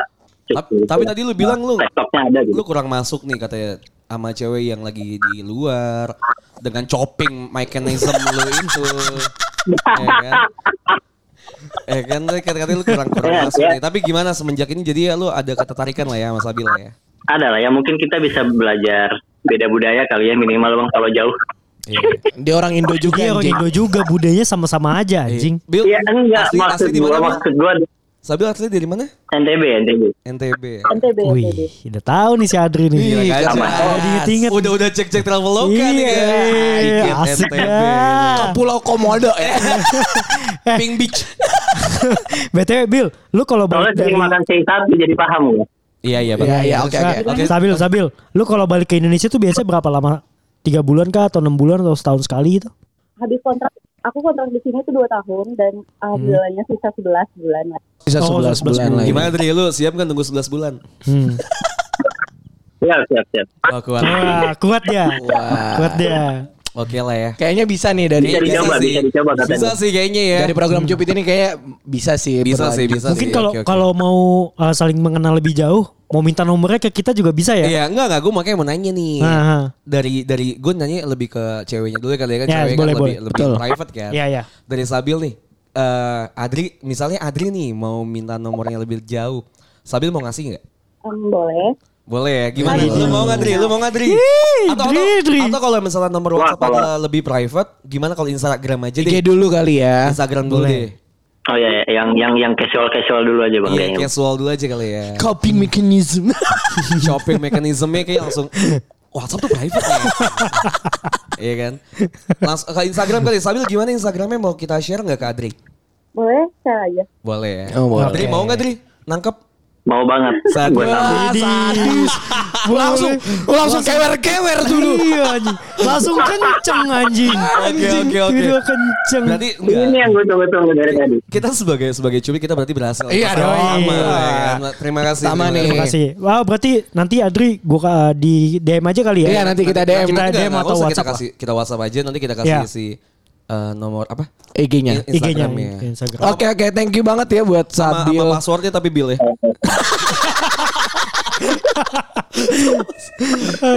S2: Tapi, tapi tadi lu bilang lu
S7: laptopnya ada gitu.
S2: lu kurang masuk nih katanya sama cewek yang lagi di luar dengan chopping mechanism lu itu ya kan eh kan tadi kata-kata lu kurang kurang
S7: Iya,
S2: masuk
S7: iya.
S2: nih tapi gimana semenjak ini jadi ya lu ada ketertarikan lah ya sama Sabil lah ya
S7: Ada lah ya mungkin kita bisa belajar beda budaya kali ya minimal bang kalau jauh.
S3: Dia orang Indo
S4: Iya,
S3: juga
S4: orang
S3: anjing.
S4: Indo juga budayanya sama-sama aja anjing.
S2: Bil
S7: Iya enggak
S2: asli,
S7: maksud
S2: asli di
S7: gue
S2: mana Bil?
S7: maksud gue
S2: Sabil asli dari mana
S7: NTB NTB.
S2: NTB
S5: NTB
S4: Wih,
S5: NTB
S4: udah tahu nih si Adri nih.
S2: Gila,
S3: Ih,
S2: kacau.
S3: keras.
S4: Kalau diinget-inget.
S2: udah udah cek cek traveloka nih
S4: Iya,
S2: kan
S4: asik
S2: NTB.
S4: ya.
S2: Oh,
S3: Pulau Komodo ya.
S2: Pink Beach
S4: BTW Bill, lu kalau
S1: Soalnya
S4: balik dari
S1: sering makan C1 jadi paham ya.
S2: Iya iya
S3: Iya,
S2: benar.
S3: iya, oke, oke.
S4: Nah, Sabil, Sabil, lu kalau balik ke Indonesia tuh biasanya berapa lama? Tiga bulan kah atau enam bulan atau setahun sekali gitu?
S8: habis kontrak aku kontrak di sini tuh 2 tahun dan alhamdulillahnya sisa 11 bulan Nah, lah.
S3: Sisa
S4: Oh,
S3: 11 bulan
S4: 11 bulan.
S3: lagi.
S2: Gimana Dri lu siap kan tunggu 11 bulan?
S4: Hmm.
S7: Ya,
S1: Siap, siap, siap.
S2: Oh, kuat.
S4: Wah, kuat dia,
S3: Wah.
S4: kuat dia.
S2: Oke lah ya.
S3: Kayaknya bisa nih dari
S1: Bisa dicoba,
S2: sih.
S1: bisa dicoba katanya.
S2: Bisa sih kayaknya ya.
S3: dari program Cupid ini kayak bisa sih.
S2: Bisa
S3: berlanjut.
S2: sih, bisa
S4: Mungkin
S2: sih.
S4: kalau
S2: Oke, oke.
S4: kalau mau uh, saling mengenal lebih jauh, mau minta nomornya ke kita juga bisa ya. Nah,
S2: Iya, enggak enggak gue makanya mau nanya nih.
S4: Heeh.
S2: Dari dari gue nanya lebih ke ceweknya dulu kali ya kan
S4: Ya,
S2: cewek
S4: boleh,
S2: kan lebih
S4: boleh.
S2: lebih
S3: Betul.
S2: private kan.
S4: Iya, iya.
S2: Dari Sabil nih. eh Adri, misalnya Adri nih mau minta nomornya lebih jauh. Sabil mau ngasih nggak?
S8: Em, boleh.
S2: Boleh ya? Gimana? Lu mau nggak Dri? Lu mau nggak Dri? Atau,
S4: Dri,
S2: atau,
S4: Dri.
S2: atau kalau misalnya nomor
S1: Wah,
S2: WhatsApp
S1: kalau-
S2: adalah lebih private, gimana kalau Instagram aja deh?
S3: IG dulu kali ya.
S2: Instagram dulu
S4: Boleh.
S2: deh.
S1: Oh iya, iya. yang yang yang casual-casual dulu aja Bang
S2: Iya,
S1: kayaknya.
S2: casual dulu aja kali ya.
S3: Coping mechanism.
S2: shopping mekanismenya kayak langsung WhatsApp tuh private ya. iya kan? Langsung ke Instagram kali. Sabil gimana Instagramnya mau kita share nggak ke Adri?
S8: Boleh share aja.
S2: Boleh ya.
S3: Oh, boleh.
S2: Adri mau nggak Adri? Nangkep?
S1: Mau banget.
S2: Sadis.
S1: Gue tahu.
S4: Sadis.
S3: langsung langsung kewer-kewer dulu.
S4: Iya anjing. Langsung kenceng anjing.
S2: Oke oke oke.
S4: Tiba-tiba kenceng.
S2: Berarti
S1: Ini
S2: enggak.
S1: yang gue tunggu-tunggu dari tadi.
S2: Kita sebagai sebagai cubit kita berarti berhasil.
S3: Iya dong.
S2: Sama, ya kan? Terima kasih.
S3: Sama
S2: Terima
S3: nih.
S2: kasih.
S4: Terima kasih. Wah, berarti nanti Adri gua uh, di DM aja kali ya.
S3: Iya nanti kita DM
S4: Kita
S2: Enggak, enggak,
S4: DM atau
S2: nggak usah
S4: WhatsApp
S2: kita kasih kita WhatsApp aja nanti kita kasih
S4: Iya.
S2: si eh, nomor apa? Iya,
S3: IG-nya.
S4: lah. IG-nya
S2: Instagramnya.
S4: Instagram.
S3: E Oke oke thank you banget ya buat
S2: Sama,
S3: Sabil.
S2: sama passwordnya tapi Bill ya.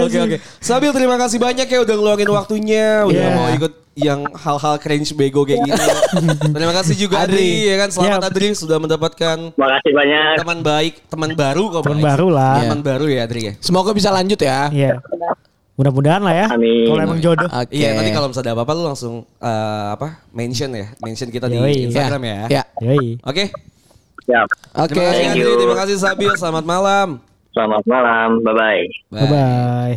S2: Oke oke. Sabil terima kasih banyak ya udah ngeluangin waktunya, udah
S4: Iya.
S2: mau ikut yang hal-hal cringe bego kayak gini. terima kasih juga Adri,
S4: Adri.
S2: ya kan. Selamat
S4: Iya.
S2: Adri sudah mendapatkan
S1: Makasih banyak.
S2: teman baik, teman baru kok.
S4: Teman
S2: baik.
S4: baru lah.
S2: Teman baru ya Adri ya.
S3: Semoga bisa lanjut ya.
S4: Iya. Mudah-mudahan lah ya.
S1: Amin.
S4: Kalau emang jodoh.
S3: Oke.
S2: Iya, nanti kalau misalnya ada apa-apa lu langsung eh, apa? mention ya, mention kita di
S4: Yoi.
S2: Instagram ya.
S3: Ya.
S4: Yoi.
S2: Oke.
S1: Siap.
S3: Oke.
S2: Terima kasih
S1: Thank
S2: Adri,
S1: you.
S2: terima kasih Sabil, selamat malam.
S1: Selamat malam. Bye-bye.
S4: Bye bye.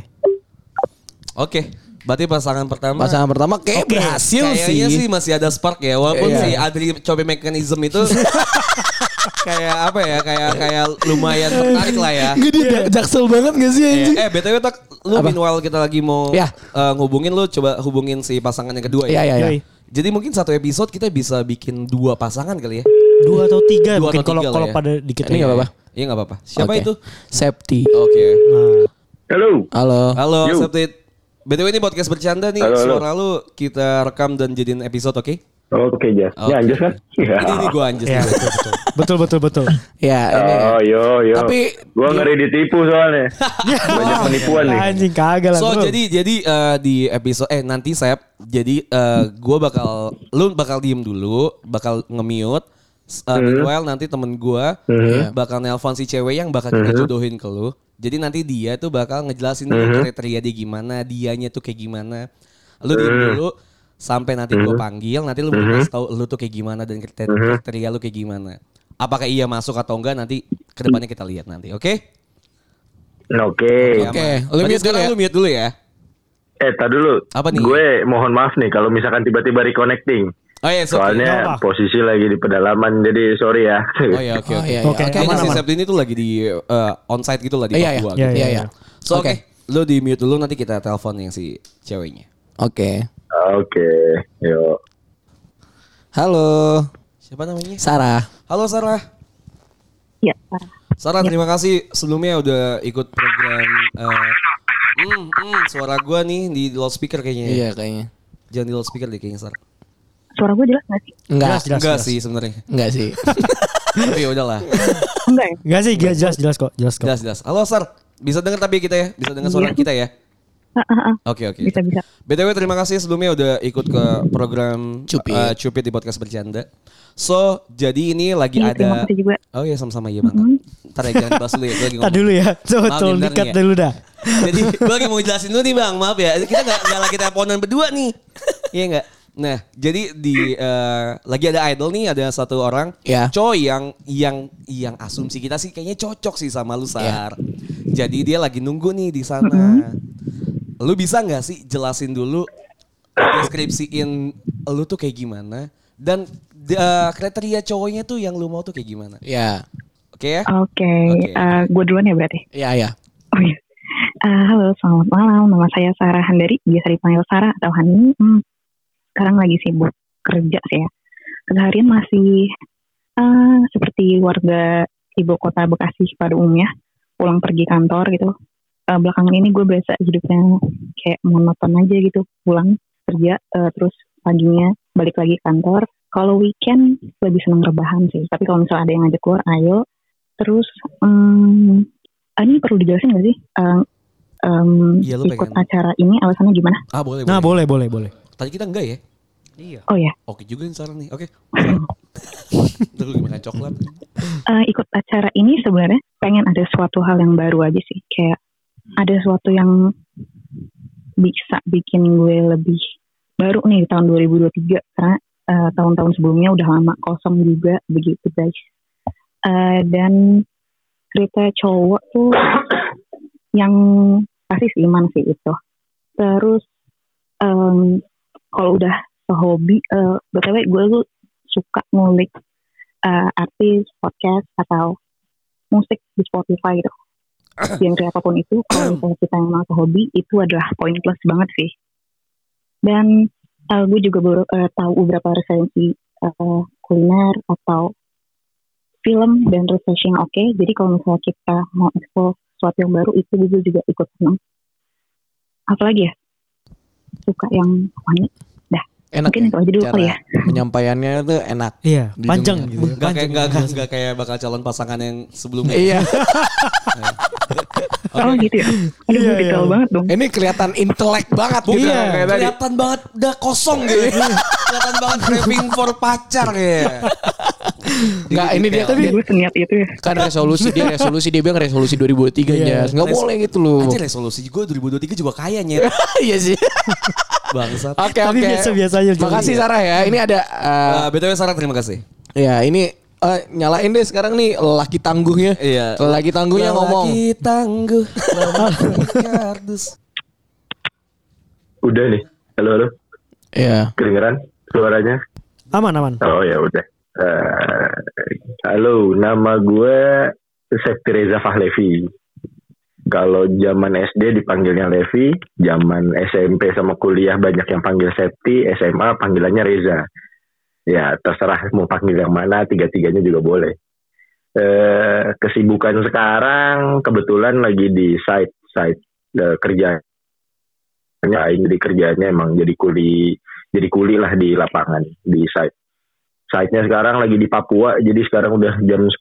S2: Oke, berarti pasangan pertama.
S3: Pasangan pertama kayak berhasil
S2: Kayaknya sih
S3: sih.
S2: masih ada spark ya walaupun
S3: Iya.
S2: si Adri Coba mekanisme itu kayak apa ya kayak kayak lumayan menarik lah ya.
S3: Gede
S4: Iya.
S3: ja- jaksel banget gak sih anjing?
S2: Eh BTW tak lu
S3: Apa?
S2: meanwhile kita lagi mau
S3: Iya.
S2: eh, ngubungin lu coba hubungin si pasangan yang kedua
S3: Iya
S2: ya.
S3: iya iya.
S4: Yoi.
S2: Jadi mungkin satu episode kita bisa bikin dua pasangan kali ya.
S4: Dua atau tiga
S2: Dua
S4: mungkin
S2: atau
S4: kalau
S2: tiga lah
S4: kalau
S2: ya.
S4: pada dikit.
S3: Ini nggak apa-apa.
S2: Iya nggak apa-apa. Siapa
S3: Oke.
S2: itu?
S3: Septi.
S2: Oke.
S4: Ah,
S1: Halo.
S3: Halo.
S2: Halo,
S1: Yo.
S2: Septit. BTW ini podcast bercanda nih.
S1: Halo, halo.
S2: Suara lu kita rekam dan jadiin episode, oke?
S1: Oke, Jas.
S2: Oke.
S1: Ya, Jas kan?
S2: Oh. Ini, ini gue anjus.
S4: Iya,
S2: nih.
S4: betul, betul. betul betul betul.
S3: Ya ini.
S7: Oh, yo, yo.
S3: Tapi-
S7: gua ngeri ditipu soalnya. Banyak penipuan nih.
S4: Anjing kagak lah.
S2: So
S4: bro.
S2: jadi jadi eh, di episode eh nanti saya jadi eh, gua bakal lu bakal diem dulu, bakal nge-mute. S- eh, meanwhile nanti temen gua bakal nelpon si cewek yang bakal kita jodohin ke lu. Jadi nanti dia tuh bakal ngejelasin nih kriteria dia gimana, dianya tuh kayak gimana. Lu diem dulu sampai nanti gua panggil, nanti lu bakal kasih tahu lu tuh kayak gimana dan kriteria, kriteria lu kayak gimana. Apakah iya masuk atau enggak nanti kedepannya kita lihat nanti, oke?
S7: Nah, Oke.
S2: Ya,
S3: Oke,
S2: Ma.
S3: lu
S2: Berarti
S3: mute dulu
S2: sekarang
S3: ya.
S2: lu mute dulu ya.
S7: Eh, tar dulu.
S2: Apa nih?
S7: Gue mohon maaf nih kalau misalkan tiba-tiba reconnecting.
S2: Oh iya, so-
S4: nggak
S7: Soalnya
S4: apa.
S7: posisi lagi di pedalaman, jadi sorry ya.
S2: Oh iya oke
S3: Oh,
S2: oke.
S3: iya,
S4: Oke,
S2: Oke, ini
S4: aman,
S2: si
S4: aman.
S2: Septi ini tuh lagi di eh, onsite gitu lah di
S3: Iya iya.
S2: Papua.
S4: Iya,
S2: gitu.
S3: Iya iya.
S2: So oke, lu di mute dulu nanti kita telepon yang si ceweknya.
S3: Oke.
S7: Oke, yo.
S3: Halo.
S2: Siapa namanya?
S3: Sarah.
S2: Halo Sarah.
S8: Iya. parah.
S2: Sarah terima kasih sebelumnya udah ikut program eh, hmm, hmm, suara gua nih di loudspeaker kayaknya. ya.
S3: Iya kayaknya.
S2: Jangan di loudspeaker deh kayaknya Sarah.
S8: Suara gue jelas gak sih?
S3: Enggak.
S4: Jelas,
S2: Enggak sih sebenarnya.
S3: Enggak sih.
S2: Tapi ya udahlah.
S8: Enggak ya?
S4: Enggak sih, jelas jelas, jelas kok, jelas kok.
S2: Jelas jelas. Halo Sar, bisa dengar tapi kita ya, bisa dengar suara kita ya.
S8: Iya. Ah, ah, ah.
S2: Oke oke.
S8: Bisa, bisa.
S2: BTW terima kasih sebelumnya udah ikut ke program
S3: Cupid.
S2: eh, Cupid di podcast bercanda. So jadi ini lagi
S8: Iya, terima
S2: ada.
S8: kasih juga. Mm-hmm.
S2: Oh iya sama-sama iya mantap. Ntar ya jangan bahas dulu ya. Gue lagi
S4: Tadi
S2: ngomong.
S4: dulu ya. So,
S2: Maaf
S4: betul
S2: nih, bentar
S4: dikat
S2: nih ya.
S4: dulu dah.
S2: Jadi gue lagi mau jelasin dulu nih bang, maaf ya. Kita gak, nggak lagi teleponan berdua nih. iya gak? Nah jadi di eh, lagi ada idol nih ada satu orang
S3: Iya.
S2: Coy yang yang yang asumsi kita sih kayaknya cocok sih sama lu Sar. Jadi dia lagi nunggu nih di sana. Lu bisa nggak sih jelasin dulu deskripsiin lu tuh kayak gimana dan eh, kriteria cowoknya tuh yang lu mau tuh kayak gimana?
S3: Ya,
S2: Oke ya?
S9: Oke,
S2: Oke.
S9: eh, gue duluan ya berarti.
S3: ya, ya.
S9: Oh iya. Eh, halo, selamat malam. Nama saya Sarah Handari, biasa dipanggil Sarah atau Hani. Hmm, sekarang lagi sibuk kerja sih ya. Seharian masih eh, seperti warga ibu kota Bekasi pada umumnya, pulang pergi kantor gitu. Eh, belakangan ini gue biasa hidupnya kayak monoton aja gitu, pulang kerja eh, terus paginya balik lagi ke kantor. Kalau weekend lebih seneng rebahan sih, tapi kalau misalnya ada yang ngajak keluar, ayo. Terus hmm, Ah, ini perlu dijelasin gak sih? Eh, em,
S2: Iya, lu
S9: ikut
S2: pengen.
S9: acara ini alasannya gimana?
S2: Ah boleh.
S4: Nah,
S2: boleh.
S4: boleh, boleh, boleh.
S2: Tadi kita enggak ya?
S9: Oh ya,
S2: Oke juga nih saran nih. Oke. Ntar lu makan coklat.
S9: eh, ikut acara ini sebenarnya pengen ada suatu hal yang baru aja sih. Kayak ada suatu yang bisa bikin gue lebih baru nih di tahun 2023 karena eh, tahun-tahun sebelumnya udah lama kosong juga begitu guys. Eh, dan cerita cowok tuh yang pasti seiman sih itu. Terus em, kalau udah hobi, eh btw gue tuh suka ngulik eh, artis, podcast atau musik di Spotify gitu. Genre apapun itu, kalau misalnya kita emang ke hobi itu adalah poin plus banget sih. Dan eh, gue juga baru eh, tahu beberapa referensi eh, kuliner atau film dan research yang oke. Jadi kalau misalnya kita mau explore sesuatu yang baru itu gue juga ikut senang. Apalagi ya? Suka yang wangi.
S3: Enak ya?
S9: Mungkin itu aja dulu kali
S3: Cara
S9: ya.
S3: penyampaiannya tuh enak.
S4: Iya,
S3: Di
S4: panjang
S3: dunia.
S4: gitu. ya.
S2: Enggak kayak
S4: Panjang.
S2: enggak enggak kayak bakal calon pasangan yang sebelumnya.
S3: Iya.
S9: Eh, Oh gitu ya? Aduh,
S4: Iya,
S9: gue detail
S4: iya.
S9: banget dong.
S3: Ini kelihatan intelek banget
S2: Bukan,
S3: gitu.
S2: Iya, kayak tadi. kelihatan banget udah kosong gitu. kelihatan banget craving for pacar ya.
S3: Enggak, ini dia
S9: Tapi gue seniat itu ya.
S3: kan resolusi dia resolusi dia bilang resolusi 2023 nya
S4: Iya.
S3: nggak
S2: Res-
S3: boleh gitu loh
S2: Anjir resolusi gue 2023 juga kaya nyet.
S3: iya sih
S2: Bangsat.
S3: oke
S4: Tapi
S3: oke
S4: biasa-biasa aja. Johnny.
S3: makasih
S2: Iya.
S3: Sarah ya ini ada eh,
S2: Eh, BTW Sarah terima kasih.
S3: ya ini eh, nyalain deh sekarang nih lelaki tangguhnya
S2: Iya.
S3: lelaki tangguhnya ngomong
S2: Lelaki tangguh. lelaki kardus.
S7: Udah nih. Halo, halo.
S3: Iya.
S7: Kedengeran suaranya?
S4: Aman, aman.
S7: Oh ya udah. Eh, halo, nama gue Sekti Reza Fahlevi. Kalau zaman SD dipanggilnya Levi, zaman SMP sama kuliah banyak yang panggil Septi, SMA panggilannya Reza. Ya terserah mau panggil yang mana, tiga-tiganya juga boleh. Eh, kesibukan sekarang kebetulan lagi di site site eh, kerja. Jadi kerjanya emang jadi kuli, jadi kuli lah di lapangan di site site-nya sekarang lagi di Papua, jadi sekarang udah jam 10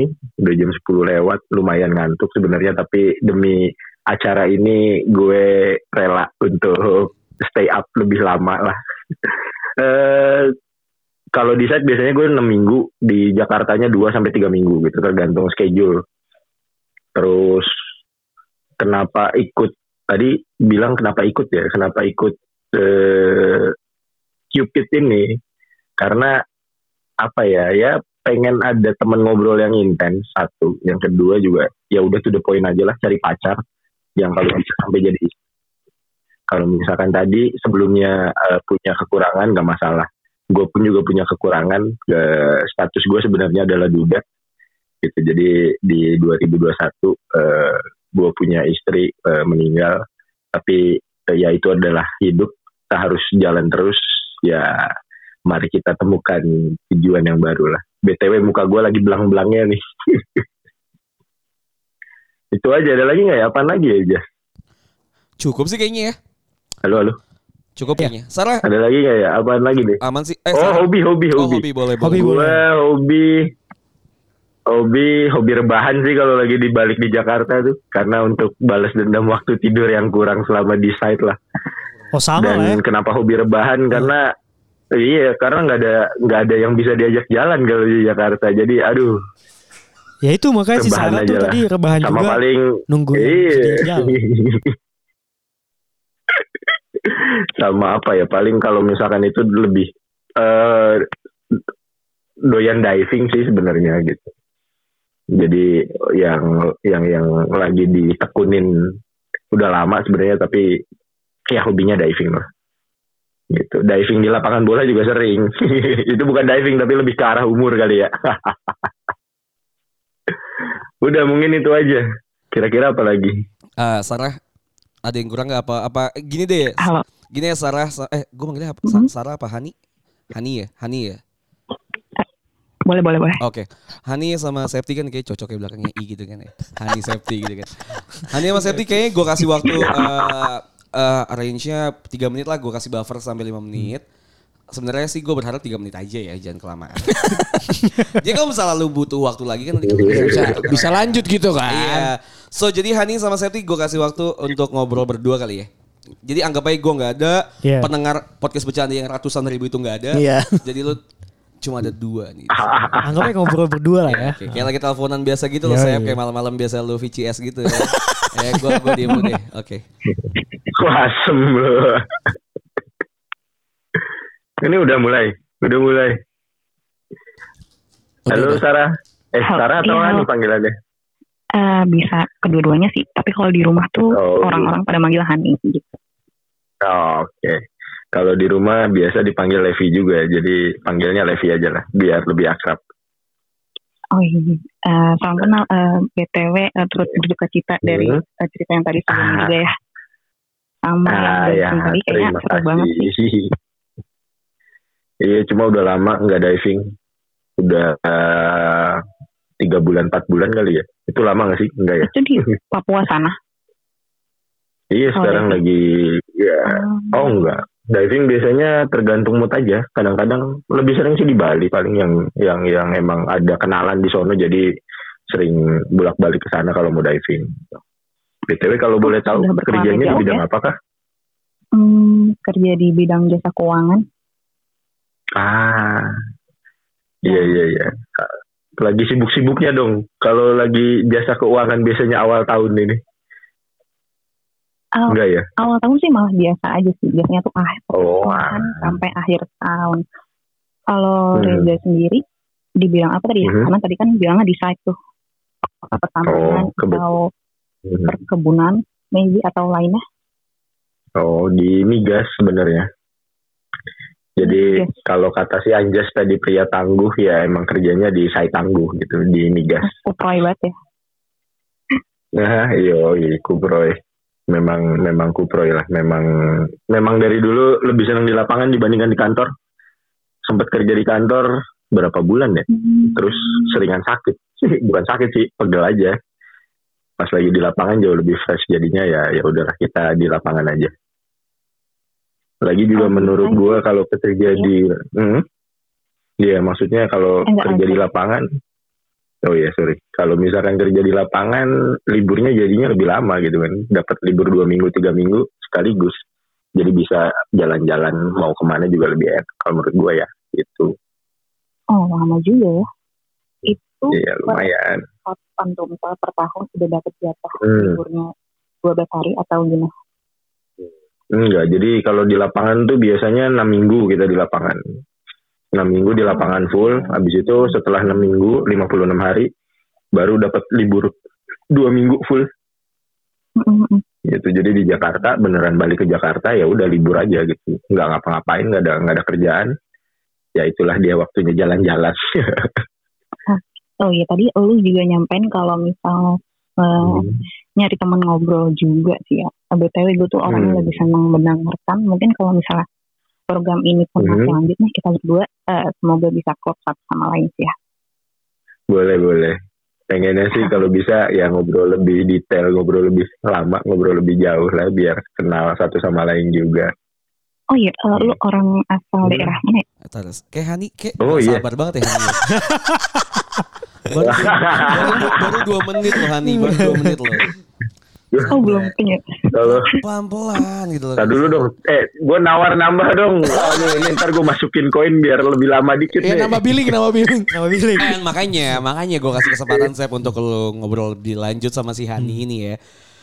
S7: nih, udah jam 10 lewat, lumayan ngantuk sebenarnya, tapi demi acara ini gue rela untuk stay up lebih lama lah. eh kalau di site biasanya gue 6 minggu, di Jakartanya 2 sampai 3 minggu gitu, tergantung schedule. Terus kenapa ikut tadi bilang kenapa ikut ya, kenapa ikut eh Cupid ini? Karena apa ya ya pengen ada teman ngobrol yang intens satu yang kedua juga ya udah tuh the point aja lah cari pacar yang kalau bisa sampai jadi istri. kalau misalkan tadi sebelumnya eh, punya kekurangan gak masalah gue pun juga punya kekurangan Eh, status gue sebenarnya adalah duda gitu jadi di 2021 eh, gue punya istri eh, meninggal tapi eh, ya itu adalah hidup kita harus jalan terus ya mari kita temukan tujuan yang baru lah. BTW muka gue lagi belang-belangnya nih. itu aja ada lagi nggak ya? Apaan lagi aja?
S2: Cukup sih kayaknya ya.
S7: Halo halo.
S2: Cukup kayaknya. Sarah
S7: Ada lagi nggak ya? Apaan lagi nih?
S2: aman sih. Eh,
S7: Oh
S2: Sarah.
S7: hobi hobi
S2: Oh,
S7: hobi.
S2: hobi boleh
S4: Hobi
S2: boleh.
S7: Gue hobi hobi hobi rebahan sih kalau lagi dibalik di Jakarta tuh karena untuk balas dendam waktu tidur yang kurang selama di site lah.
S4: Oh, sama
S7: Dan
S4: lah ya.
S7: kenapa hobi rebahan? Karena iya karena nggak ada nggak ada yang bisa diajak jalan kalau di Jakarta. Jadi aduh
S4: Ya itu makanya si
S7: Rebahan
S4: Sarah
S7: aja
S4: tuh
S7: lah.
S4: tadi rebahan
S7: sama
S4: juga.
S7: paling
S4: Nunggu
S7: iya.
S4: jalan.
S7: sama apa ya paling kalau misalkan itu lebih eh doyan diving sih sebenarnya gitu jadi yang yang yang lagi ditekunin udah lama sebenarnya tapi ya hobinya diving lah gitu diving di lapangan bola juga sering itu bukan diving tapi lebih ke arah umur kali ya udah mungkin itu aja kira-kira apa lagi
S2: Ah, Sarah ada yang kurang nggak apa apa eh, gini deh
S9: Halo.
S2: gini ya Sarah Sa- eh gue manggilnya apa Sa-
S9: Mhm.
S2: Sarah apa Hani Hani ya Hani ya
S9: Boleh, boleh, boleh.
S2: oke Hani sama Septi kan kayak cocok ya belakangnya I gitu kan ya Hani Septi gitu kan Hani sama Septi kayaknya gue kasih waktu eh eh, range-nya 3 menit lah gue kasih buffer sampai 5 menit Sebenarnya sih gue berharap 3 menit aja ya, jangan kelamaan. Jadi kalau misalnya lu butuh waktu lagi kan nanti kita
S3: Bisa,
S2: bisa,
S3: Iya, bisa lanjut gitu kan.
S2: Iya. So jadi Hani sama Septi gue kasih waktu untuk ngobrol berdua kali ya. Jadi anggap aja gue nggak ada
S4: Iya.
S2: pendengar podcast bercanda yang ratusan ribu itu nggak ada.
S3: Iya.
S2: Jadi lu cuma ada dua nih.
S7: ya?
S4: Anggapnya ngobrol berdua lah ya.
S2: Oke, kayak lagi teleponan biasa gitu loh,
S4: Iya,
S2: saya
S4: iya.
S2: kayak malam-malam biasa lu VCS gitu ya. eh, gue gue diem dulu deh. Oke.
S7: Wah, asem lu. Ini udah mulai, udah mulai. Halo Sarah. Eh
S9: Halo,
S7: Sarah atau
S9: iya,
S7: Ani
S9: halo.
S7: panggilannya?
S9: Eh, bisa kedua-duanya sih, tapi kalau di rumah tuh
S4: iya.
S7: Oh.
S9: orang-orang pada manggil Hani gitu.
S7: Oh, Oke. Kalau di rumah biasa dipanggil Levi juga, jadi panggilnya Levi aja lah, biar lebih akrab.
S9: Oh iya, Eh, salam kenal eh, BTW eh, turut berduka cita dari
S7: Hmm.
S9: eh, cerita yang tadi sebelumnya
S7: Ah.
S9: juga ya. Sama
S7: Ah
S9: yang
S7: ya,
S9: dari tadi kayaknya
S7: terima
S9: seru banget sih.
S7: kasih. Iya, cuma udah lama nggak diving. Udah eh, tiga bulan, empat bulan kali ya. Itu lama nggak sih? Enggak ya?
S9: Itu di Papua sana.
S7: Iya,
S9: Oh,
S7: sekarang
S9: diving.
S7: lagi ya Oh enggak. Diving biasanya tergantung mood aja. Kadang-kadang lebih sering sih di Bali paling yang yang yang emang ada kenalan di sono jadi sering bolak-balik ke sana kalau mau diving. BTW kalau boleh tahu
S9: sudah berkeluarga
S7: kerjanya di
S9: jauh ya.
S7: bidang apakah?
S9: Hmm, kerja di bidang jasa keuangan.
S7: Ah.
S9: Ya.
S7: Iya iya iya. Lagi sibuk-sibuknya dong. Kalau lagi jasa keuangan biasanya awal tahun ini.
S9: Awal,
S7: Enggak ya?
S9: awal tahun sih malah biasa aja sih. Biasanya tuh akhir
S7: Oh.
S9: tahun kan sampai akhir tahun. Kalau
S7: Hmm.
S9: Reza sendiri di bidang apa tadi? ya?
S7: Mhm.
S9: Karena tadi kan bilangnya di site tuh. Apa pertambangan
S7: Oh, kebun.
S9: atau
S7: Hmm.
S9: perkebunan maybe atau lainnya.
S7: Oh, di migas sebenarnya. Jadi
S9: Migas.
S7: kalau kata si Anjas tadi pria tangguh ya emang kerjanya di site tangguh gitu di migas.
S9: Uproy banget ya.
S7: Nah, iyo, kuproy. Memang memang kuproy lah. Memang memang dari dulu lebih senang di lapangan dibandingkan di kantor. Sempat kerja di kantor berapa bulan ya? Terus seringan sakit. Bukan sakit sih, pegel aja. Pas lagi di lapangan jauh lebih fresh jadinya ya ya udahlah kita di lapangan aja. Lagi juga
S9: Oh,
S7: menurut
S9: baik.
S7: gua kalau kerja
S9: Iya.
S7: di Hmm? Iya, maksudnya kalau
S9: Enggak,
S7: kerja di
S9: lanjut.
S7: lapangan Oh iya, sorry. Kalau misalkan kerja di lapangan, liburnya jadinya lebih lama gitu kan. Dapat libur dua minggu, tiga minggu sekaligus. Jadi bisa jalan-jalan mau kemana juga lebih enak kalau menurut gua ya. Gitu.
S9: Oh lama juga ya. Itu
S7: Iya, lumayan.
S9: 8 tumpah per tahun sudah dapat jatah
S7: Hmm.
S9: liburnya 12 hari atau gimana?
S7: Enggak, jadi kalau di lapangan tuh biasanya 6 minggu kita di lapangan. 6 minggu di lapangan full, habis itu setelah 6 minggu, 56 hari, baru dapat libur 2 minggu full.
S9: Mm-mm.
S7: Gitu. Jadi di Jakarta, beneran balik ke Jakarta ya udah libur aja gitu. Nggak ngapa-ngapain, nggak ada, nggak ada kerjaan. Ya itulah dia waktunya jalan-jalan.
S9: Oh iya tadi lu juga nyampein kalau misal eh,
S7: Hmm.
S9: nyari teman ngobrol juga sih ya. BTW gue tuh
S7: Hmm.
S9: orangnya lebih senang mendengarkan. Mungkin kalau misalnya program ini pun
S7: Hmm.
S9: masih lanjut nih kita berdua eh, semoga bisa klop satu sama lain sih ya.
S7: Boleh, boleh. Pengennya sih kalau bisa ya ngobrol lebih detail, ngobrol lebih lama, ngobrol lebih jauh lah biar kenal satu sama lain juga.
S9: Oh iya, eh, lu orang asal
S7: Hmm.
S9: daerah mana ya?
S2: Terus kayak Hani kayak
S7: Oh,
S2: nggak
S7: iya.
S2: sabar banget ya Hani. baru, baru, baru dua menit loh Hani, baru dua menit loh.
S9: Oh belum punya.
S7: Kalau
S2: Pelan-pelan gitu loh.
S7: Ntar dulu dong. Eh, gue nawar nambah dong. Ini, ini "Eh, ntar gue masukin koin biar lebih lama dikit
S3: Ya
S7: nih.
S3: nambah billing, nambah billing.
S4: Nama bilik. Hmm.
S2: Kan makanya, makanya gue kasih kesempatan Sep untuk lo ngobrol lebih lanjut sama si Hani ini ya.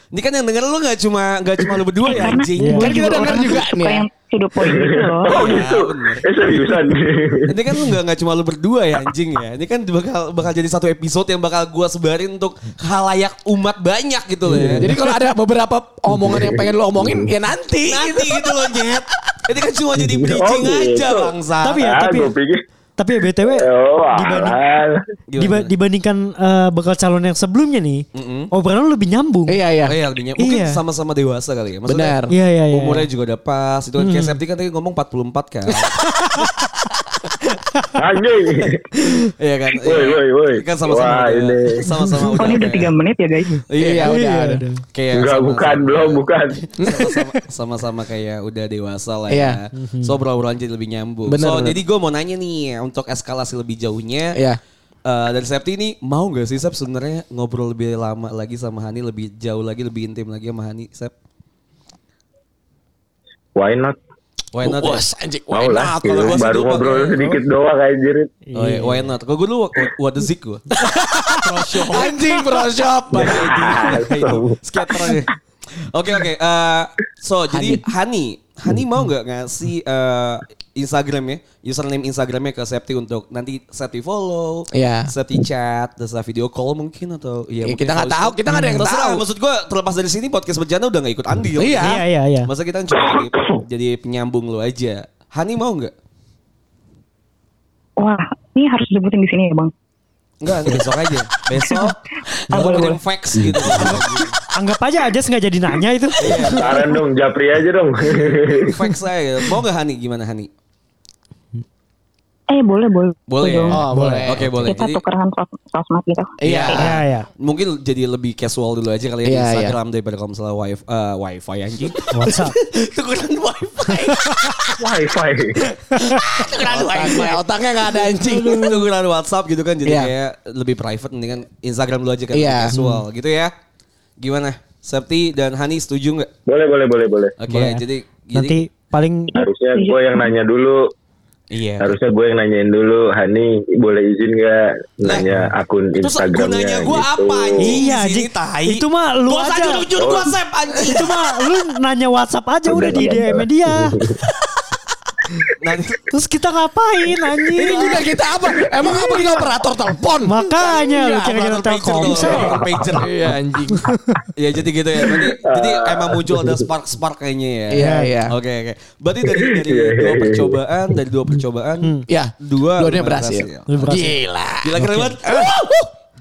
S2: Ini kan yang denger lu gak cuma gak cuma lu berdua ya anjing.
S4: Iya.
S3: Kan kita denger juga nih
S9: Suka
S3: ya.
S9: yang to the point gitu loh.
S7: Oh gitu. Eh seriusan.
S2: ya.
S3: Eh,
S2: Ini kan lu gak, gak cuma lu berdua ya anjing ya. Ini kan bakal bakal jadi satu episode yang bakal gua sebarin untuk halayak umat banyak gitu loh
S4: Iya.
S2: ya.
S3: Nah, Jadi kalau ada beberapa omongan yang pengen lo omongin ya nanti.
S2: nanti gitu loh Jet. Ini kan cuma jadi bridging
S7: Oh, gitu.
S2: aja bangsa.
S4: Iya, Tapi ya,
S7: Ah,
S4: tapi
S7: gue pikir.
S4: tapi ya BTW
S7: Oh,
S4: dibanding-
S7: alah.
S2: Gimana?
S4: diba- dibandingkan eh, bakal calon yang sebelumnya nih,
S2: Mm-mm.
S4: obrolan lu lebih nyambung.
S3: Iya iya.
S2: Oh iya, lebih nyam- Mungkin
S4: Iya.
S2: sama-sama dewasa kali ya.
S3: Benar.
S4: Iya iya iya. Hmm.
S2: Umurnya juga udah pas. Itu kan kayak Septi kan tadi ngomong 44 kan.
S7: Anjing.
S2: Iya kan. Iya.
S7: Woi, woi, woi.
S2: Kan sama-sama udah,
S7: Wah, ini.
S2: sama-sama
S9: Oh ini udah tiga menit ya guys.
S2: Iya,
S3: Iya, udah,
S4: Iya.
S3: udah.
S2: Kayak
S7: Enggak
S2: sama-sama-
S7: bukan, belum bukan.
S2: sama-sama- sama-sama kayak udah dewasa lah
S3: Iya.
S2: ya. So obrolan jadi lebih nyambung.
S3: Benar,
S2: so
S3: benar.
S2: jadi gue mau nanya nih untuk eskalasi lebih jauhnya.
S3: Iya.
S2: Eh, dari Septi ini mau gak sih Sep sebenarnya ngobrol lebih lama lagi sama Hani lebih jauh lagi lebih intim lagi sama Hani Sep?
S7: Why not?
S2: Why not? ya?
S3: Wah, anjing. why
S7: Mau lah.
S3: not? Kalau
S7: gitu.
S3: gua sih
S7: Baru
S3: lupa.
S7: ngobrol sedikit doang anjir.
S2: Oh iya, why not? Kok gue dulu wa- what the zik gue.
S3: Anjing bro shop.
S2: gitu. Skater aja. Oke oke. eh, so jadi Hani, Hani mau nggak ngasih eh, Instagramnya, username Instagramnya ke Septi untuk nanti Septi follow,
S3: Iya.
S2: Septi chat, terus video call mungkin atau
S3: Ya,
S2: iya mungkin
S3: kita nggak
S2: voice
S3: tahu,
S2: call.
S3: kita nggak ada yang
S2: Terserah,
S3: tahu.
S2: Maksud gue terlepas dari sini podcast bercanda udah nggak ikut andil.
S3: Iya.
S4: Iya iya iya.
S2: Masa kita cuma jadi, jadi penyambung lo aja. Hani mau nggak?
S9: Wah ini harus disebutin di sini ya bang.
S2: Enggak, besok aja. Besok.
S4: Ah,
S2: Aku
S4: boleh,
S2: kirim fax gitu.
S4: Anggap aja aja nggak jadi nanya itu.
S2: Iya.
S7: Saran dong, Japri aja dong.
S2: fax saya. Mau nggak Hani? Gimana Hani?
S9: Eh boleh boleh.
S2: Boleh. ya?
S9: dong.
S3: Oh, boleh.
S2: Oke, boleh.
S9: Kita
S2: Jadi
S9: tukeran sos- sosmed gitu.
S3: Iya.
S4: Iya iya.
S2: mungkin jadi lebih casual dulu aja kali ya di
S3: Iya, iya.
S2: Instagram daripada kalau misalnya wifi, eh, wifi anjing.
S4: WhatsApp.
S2: Tukeran wifi.
S7: Wi-Fi.
S3: Otaknya, otaknya nggak ada anjing.
S2: Tukeran WhatsApp gitu kan jadi
S3: Iya.
S2: kayak lebih private mendingan Instagram dulu aja kan
S3: Iya.
S2: lebih casual gitu ya. Gimana? Septi dan Hani setuju nggak?
S7: Boleh, boleh, boleh, boleh.
S2: Oke,
S3: ya.
S4: Boleh.
S2: jadi jadi
S4: Nanti paling
S7: Harusnya gue yang nanya dulu.
S2: iya.
S7: Harusnya gue yang nanyain dulu. Hani, boleh izin nggak nanya akun
S2: Terus gunanya
S7: Instagramnya
S2: gue apa anjing?
S7: gitu.
S4: Iya,
S2: Di sini
S4: anjing.
S2: tai.
S4: Itu mah lu
S2: Gua
S4: aja.
S2: jujur gua Sep anjing.
S4: itu mah lu nanya WhatsApp aja udah di
S7: Udah,
S4: DM
S7: udah.
S4: dia.
S2: Nanti
S4: Terus kita ngapain anjing?
S3: Ini juga kita apa? Emang apa kita operator telepon?
S4: Makanya lu kira-kira
S2: Operator pager
S4: telkom.
S2: tuh, operator pager.
S3: Iya anjing.
S2: Ya jadi gitu ya. Berarti, jadi emang muncul ada spark spark kayaknya ya.
S3: Iya, iya.
S2: Oke oke. Berarti dari dari dua percobaan dari dua percobaan
S3: Ya.
S2: dua
S3: Dua-duanya
S2: lumayan
S3: berhasil.
S4: Lu berhasil.
S3: Gila.
S2: Gila keren banget.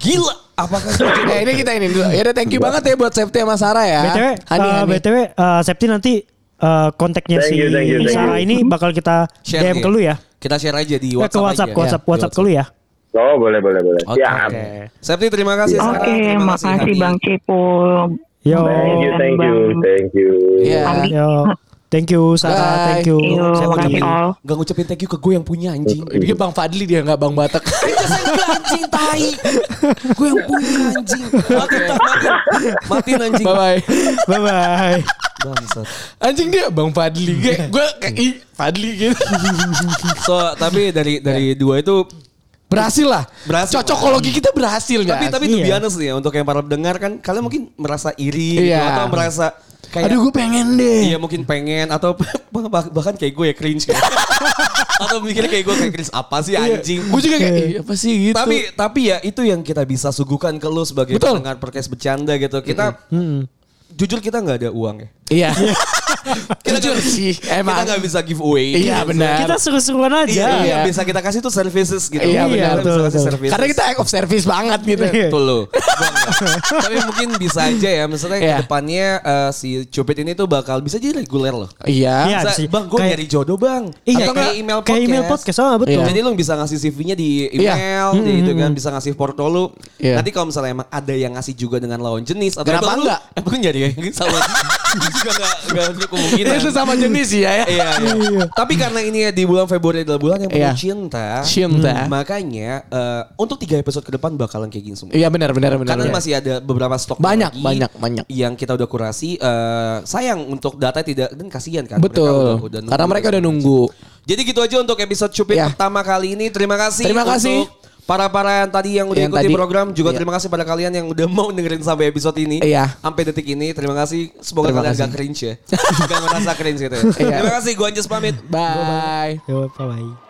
S2: Gila. Apakah
S3: Eh ini kita ini dulu. Ya udah thank you banget ya buat Septi sama Sarah ya.
S4: BTW,
S3: Hani,
S4: eh,
S3: Hani.
S4: BTW, eh, Septi nanti eh, kontaknya
S7: Thank
S4: si
S7: you, thank you, thank
S4: Sarah
S7: you.
S4: ini bakal kita
S2: Share
S4: DM
S2: dia.
S4: ke lu ya.
S2: kita share aja di
S4: Eh,
S2: WhatsApp aja. Iya.
S4: ke WhatsApp, ke WhatsApp,
S2: Di
S4: WhatsApp ke lu ya.
S7: Oh, boleh, boleh, boleh.
S2: Oke.
S7: Siap.
S2: oke. Septi terima kasih. Sarah.
S9: Oke
S2: Terima kasih,
S9: makasih
S2: Hani.
S9: bang Cipul.
S4: Yo,
S7: Thank you, thank you, thank you.
S3: Iya.
S9: Andi.
S4: yo, thank you
S3: Bye.
S4: Sarah, thank you.
S9: Thank you.
S2: Siapa
S9: Makasih
S2: namanya?
S9: all.
S2: Gak ngucapin thank you ke gue yang punya anjing.
S3: Dia Bang Fadli dia nggak Bang Batak.
S2: anjing tai. Gue yang punya anjing. Matiin, tak, matiin. Matiin anjing.
S3: bye bye.
S4: Bye bye.
S2: Bangsat.
S3: Anjing dia Bang Fadli.
S2: Iya.
S3: Gue gue kayak ih, Fadli gitu.
S2: So, tapi dari dari
S3: Iya.
S2: dua itu
S3: Berhasil lah.
S2: Berhasil.
S3: Cocokologi kita berhasil
S2: tapi
S3: nggak?
S2: tapi tuh
S4: Iya.
S2: biasa ya untuk yang para pendengar kan kalian mungkin merasa iri gitu,
S3: Iya.
S2: atau merasa kayak
S3: Aduh gue pengen
S2: iya
S3: deh.
S2: mungkin pengen atau bah- bahkan kayak gue ya cringe kayak. atau mikirnya kayak gue kayak cringe apa sih anjing.
S3: Gue juga kayak "Ih, apa Iya. sih gitu.
S2: Tapi tapi ya itu yang kita bisa suguhkan ke lu sebagai
S3: Betul.
S2: pendengar podcast bercanda gitu. Kita jujur kita nggak ada uang ya.
S3: iya.
S2: Kita
S3: Jujur
S2: nggak-
S3: sih emang.
S2: Kita nggak gitu. bisa giveaway.
S3: Iya benar.
S4: Kita seru-seruan
S2: Iya,
S4: aja.
S2: iya,
S3: Iya.
S2: yang bisa kita kasih tuh services gitu.
S3: Iya,
S2: Kita
S3: benar.
S2: bisa
S4: Betul,
S2: kasih
S4: betul.
S2: services.
S3: Karena kita act of service banget gitu.
S4: Iya.
S2: Betul loh. Gua enggak. Tapi mungkin bisa aja ya. Misalnya
S3: Iya.
S2: ke depannya eh, si Cupid ini tuh bakal bisa jadi reguler loh.
S3: Iya.
S4: Iya,
S2: Bisa,
S4: sih.
S2: bang, gue
S4: Kayak-
S2: nyari jodoh bang.
S4: Iya,
S2: Atau
S4: kayak-
S2: kayak email podcast.
S4: kayak email podcast, oh, betul.
S2: Iya. Jadi lu bisa ngasih CV-nya di email,
S3: Iya.
S2: gitu kan. Bisa ngasih foto lu.
S3: Iya.
S2: Nanti kalau misalnya emang ada yang ngasih juga dengan lawan jenis. Atau
S3: Kenapa
S2: emang lu-
S3: enggak?
S2: Emang lu nyari yang sama. Itu juga gak, gak ada kemungkinan.
S3: Itu sama jenis sih ya. ya.
S2: Iya, iya. Tapi karena ini ya di bulan Februari adalah bulan yang penuh
S3: Iya.
S2: cinta.
S3: Cinta.
S2: Hmm, Makanya eh, untuk tiga episode ke depan bakalan kayak gini semua.
S3: Iya benar benar benar.
S2: Karena
S3: benar.
S2: masih ada beberapa stok
S3: Banyak,
S2: lagi
S3: banyak, banyak.
S2: yang kita udah kurasi. eh, sayang untuk data tidak dan kasihan kan. mereka
S3: Betul.
S2: udah- udah nunggu
S3: Karena mereka
S2: dan
S3: udah
S2: segala
S3: nunggu.
S2: macam. Jadi gitu aja untuk episode cupid
S3: Ya.
S2: pertama kali ini. Terima kasih.
S3: Terima kasih.
S2: untuk Para-para yang tadi yang udah
S3: Yang
S2: ikuti
S3: tadi-
S2: program juga
S3: iya.
S2: terima kasih pada kalian yang udah mau dengerin sampai episode ini.
S3: Iya.
S2: Sampai detik ini terima kasih. Semoga
S3: Terima
S2: kalian
S3: kasih.
S2: gak cringe ya. gak ngerasa cringe gitu ya.
S3: Iya.
S2: Terima kasih gua Anjas pamit.
S3: Bye.
S4: Yo, bye-bye.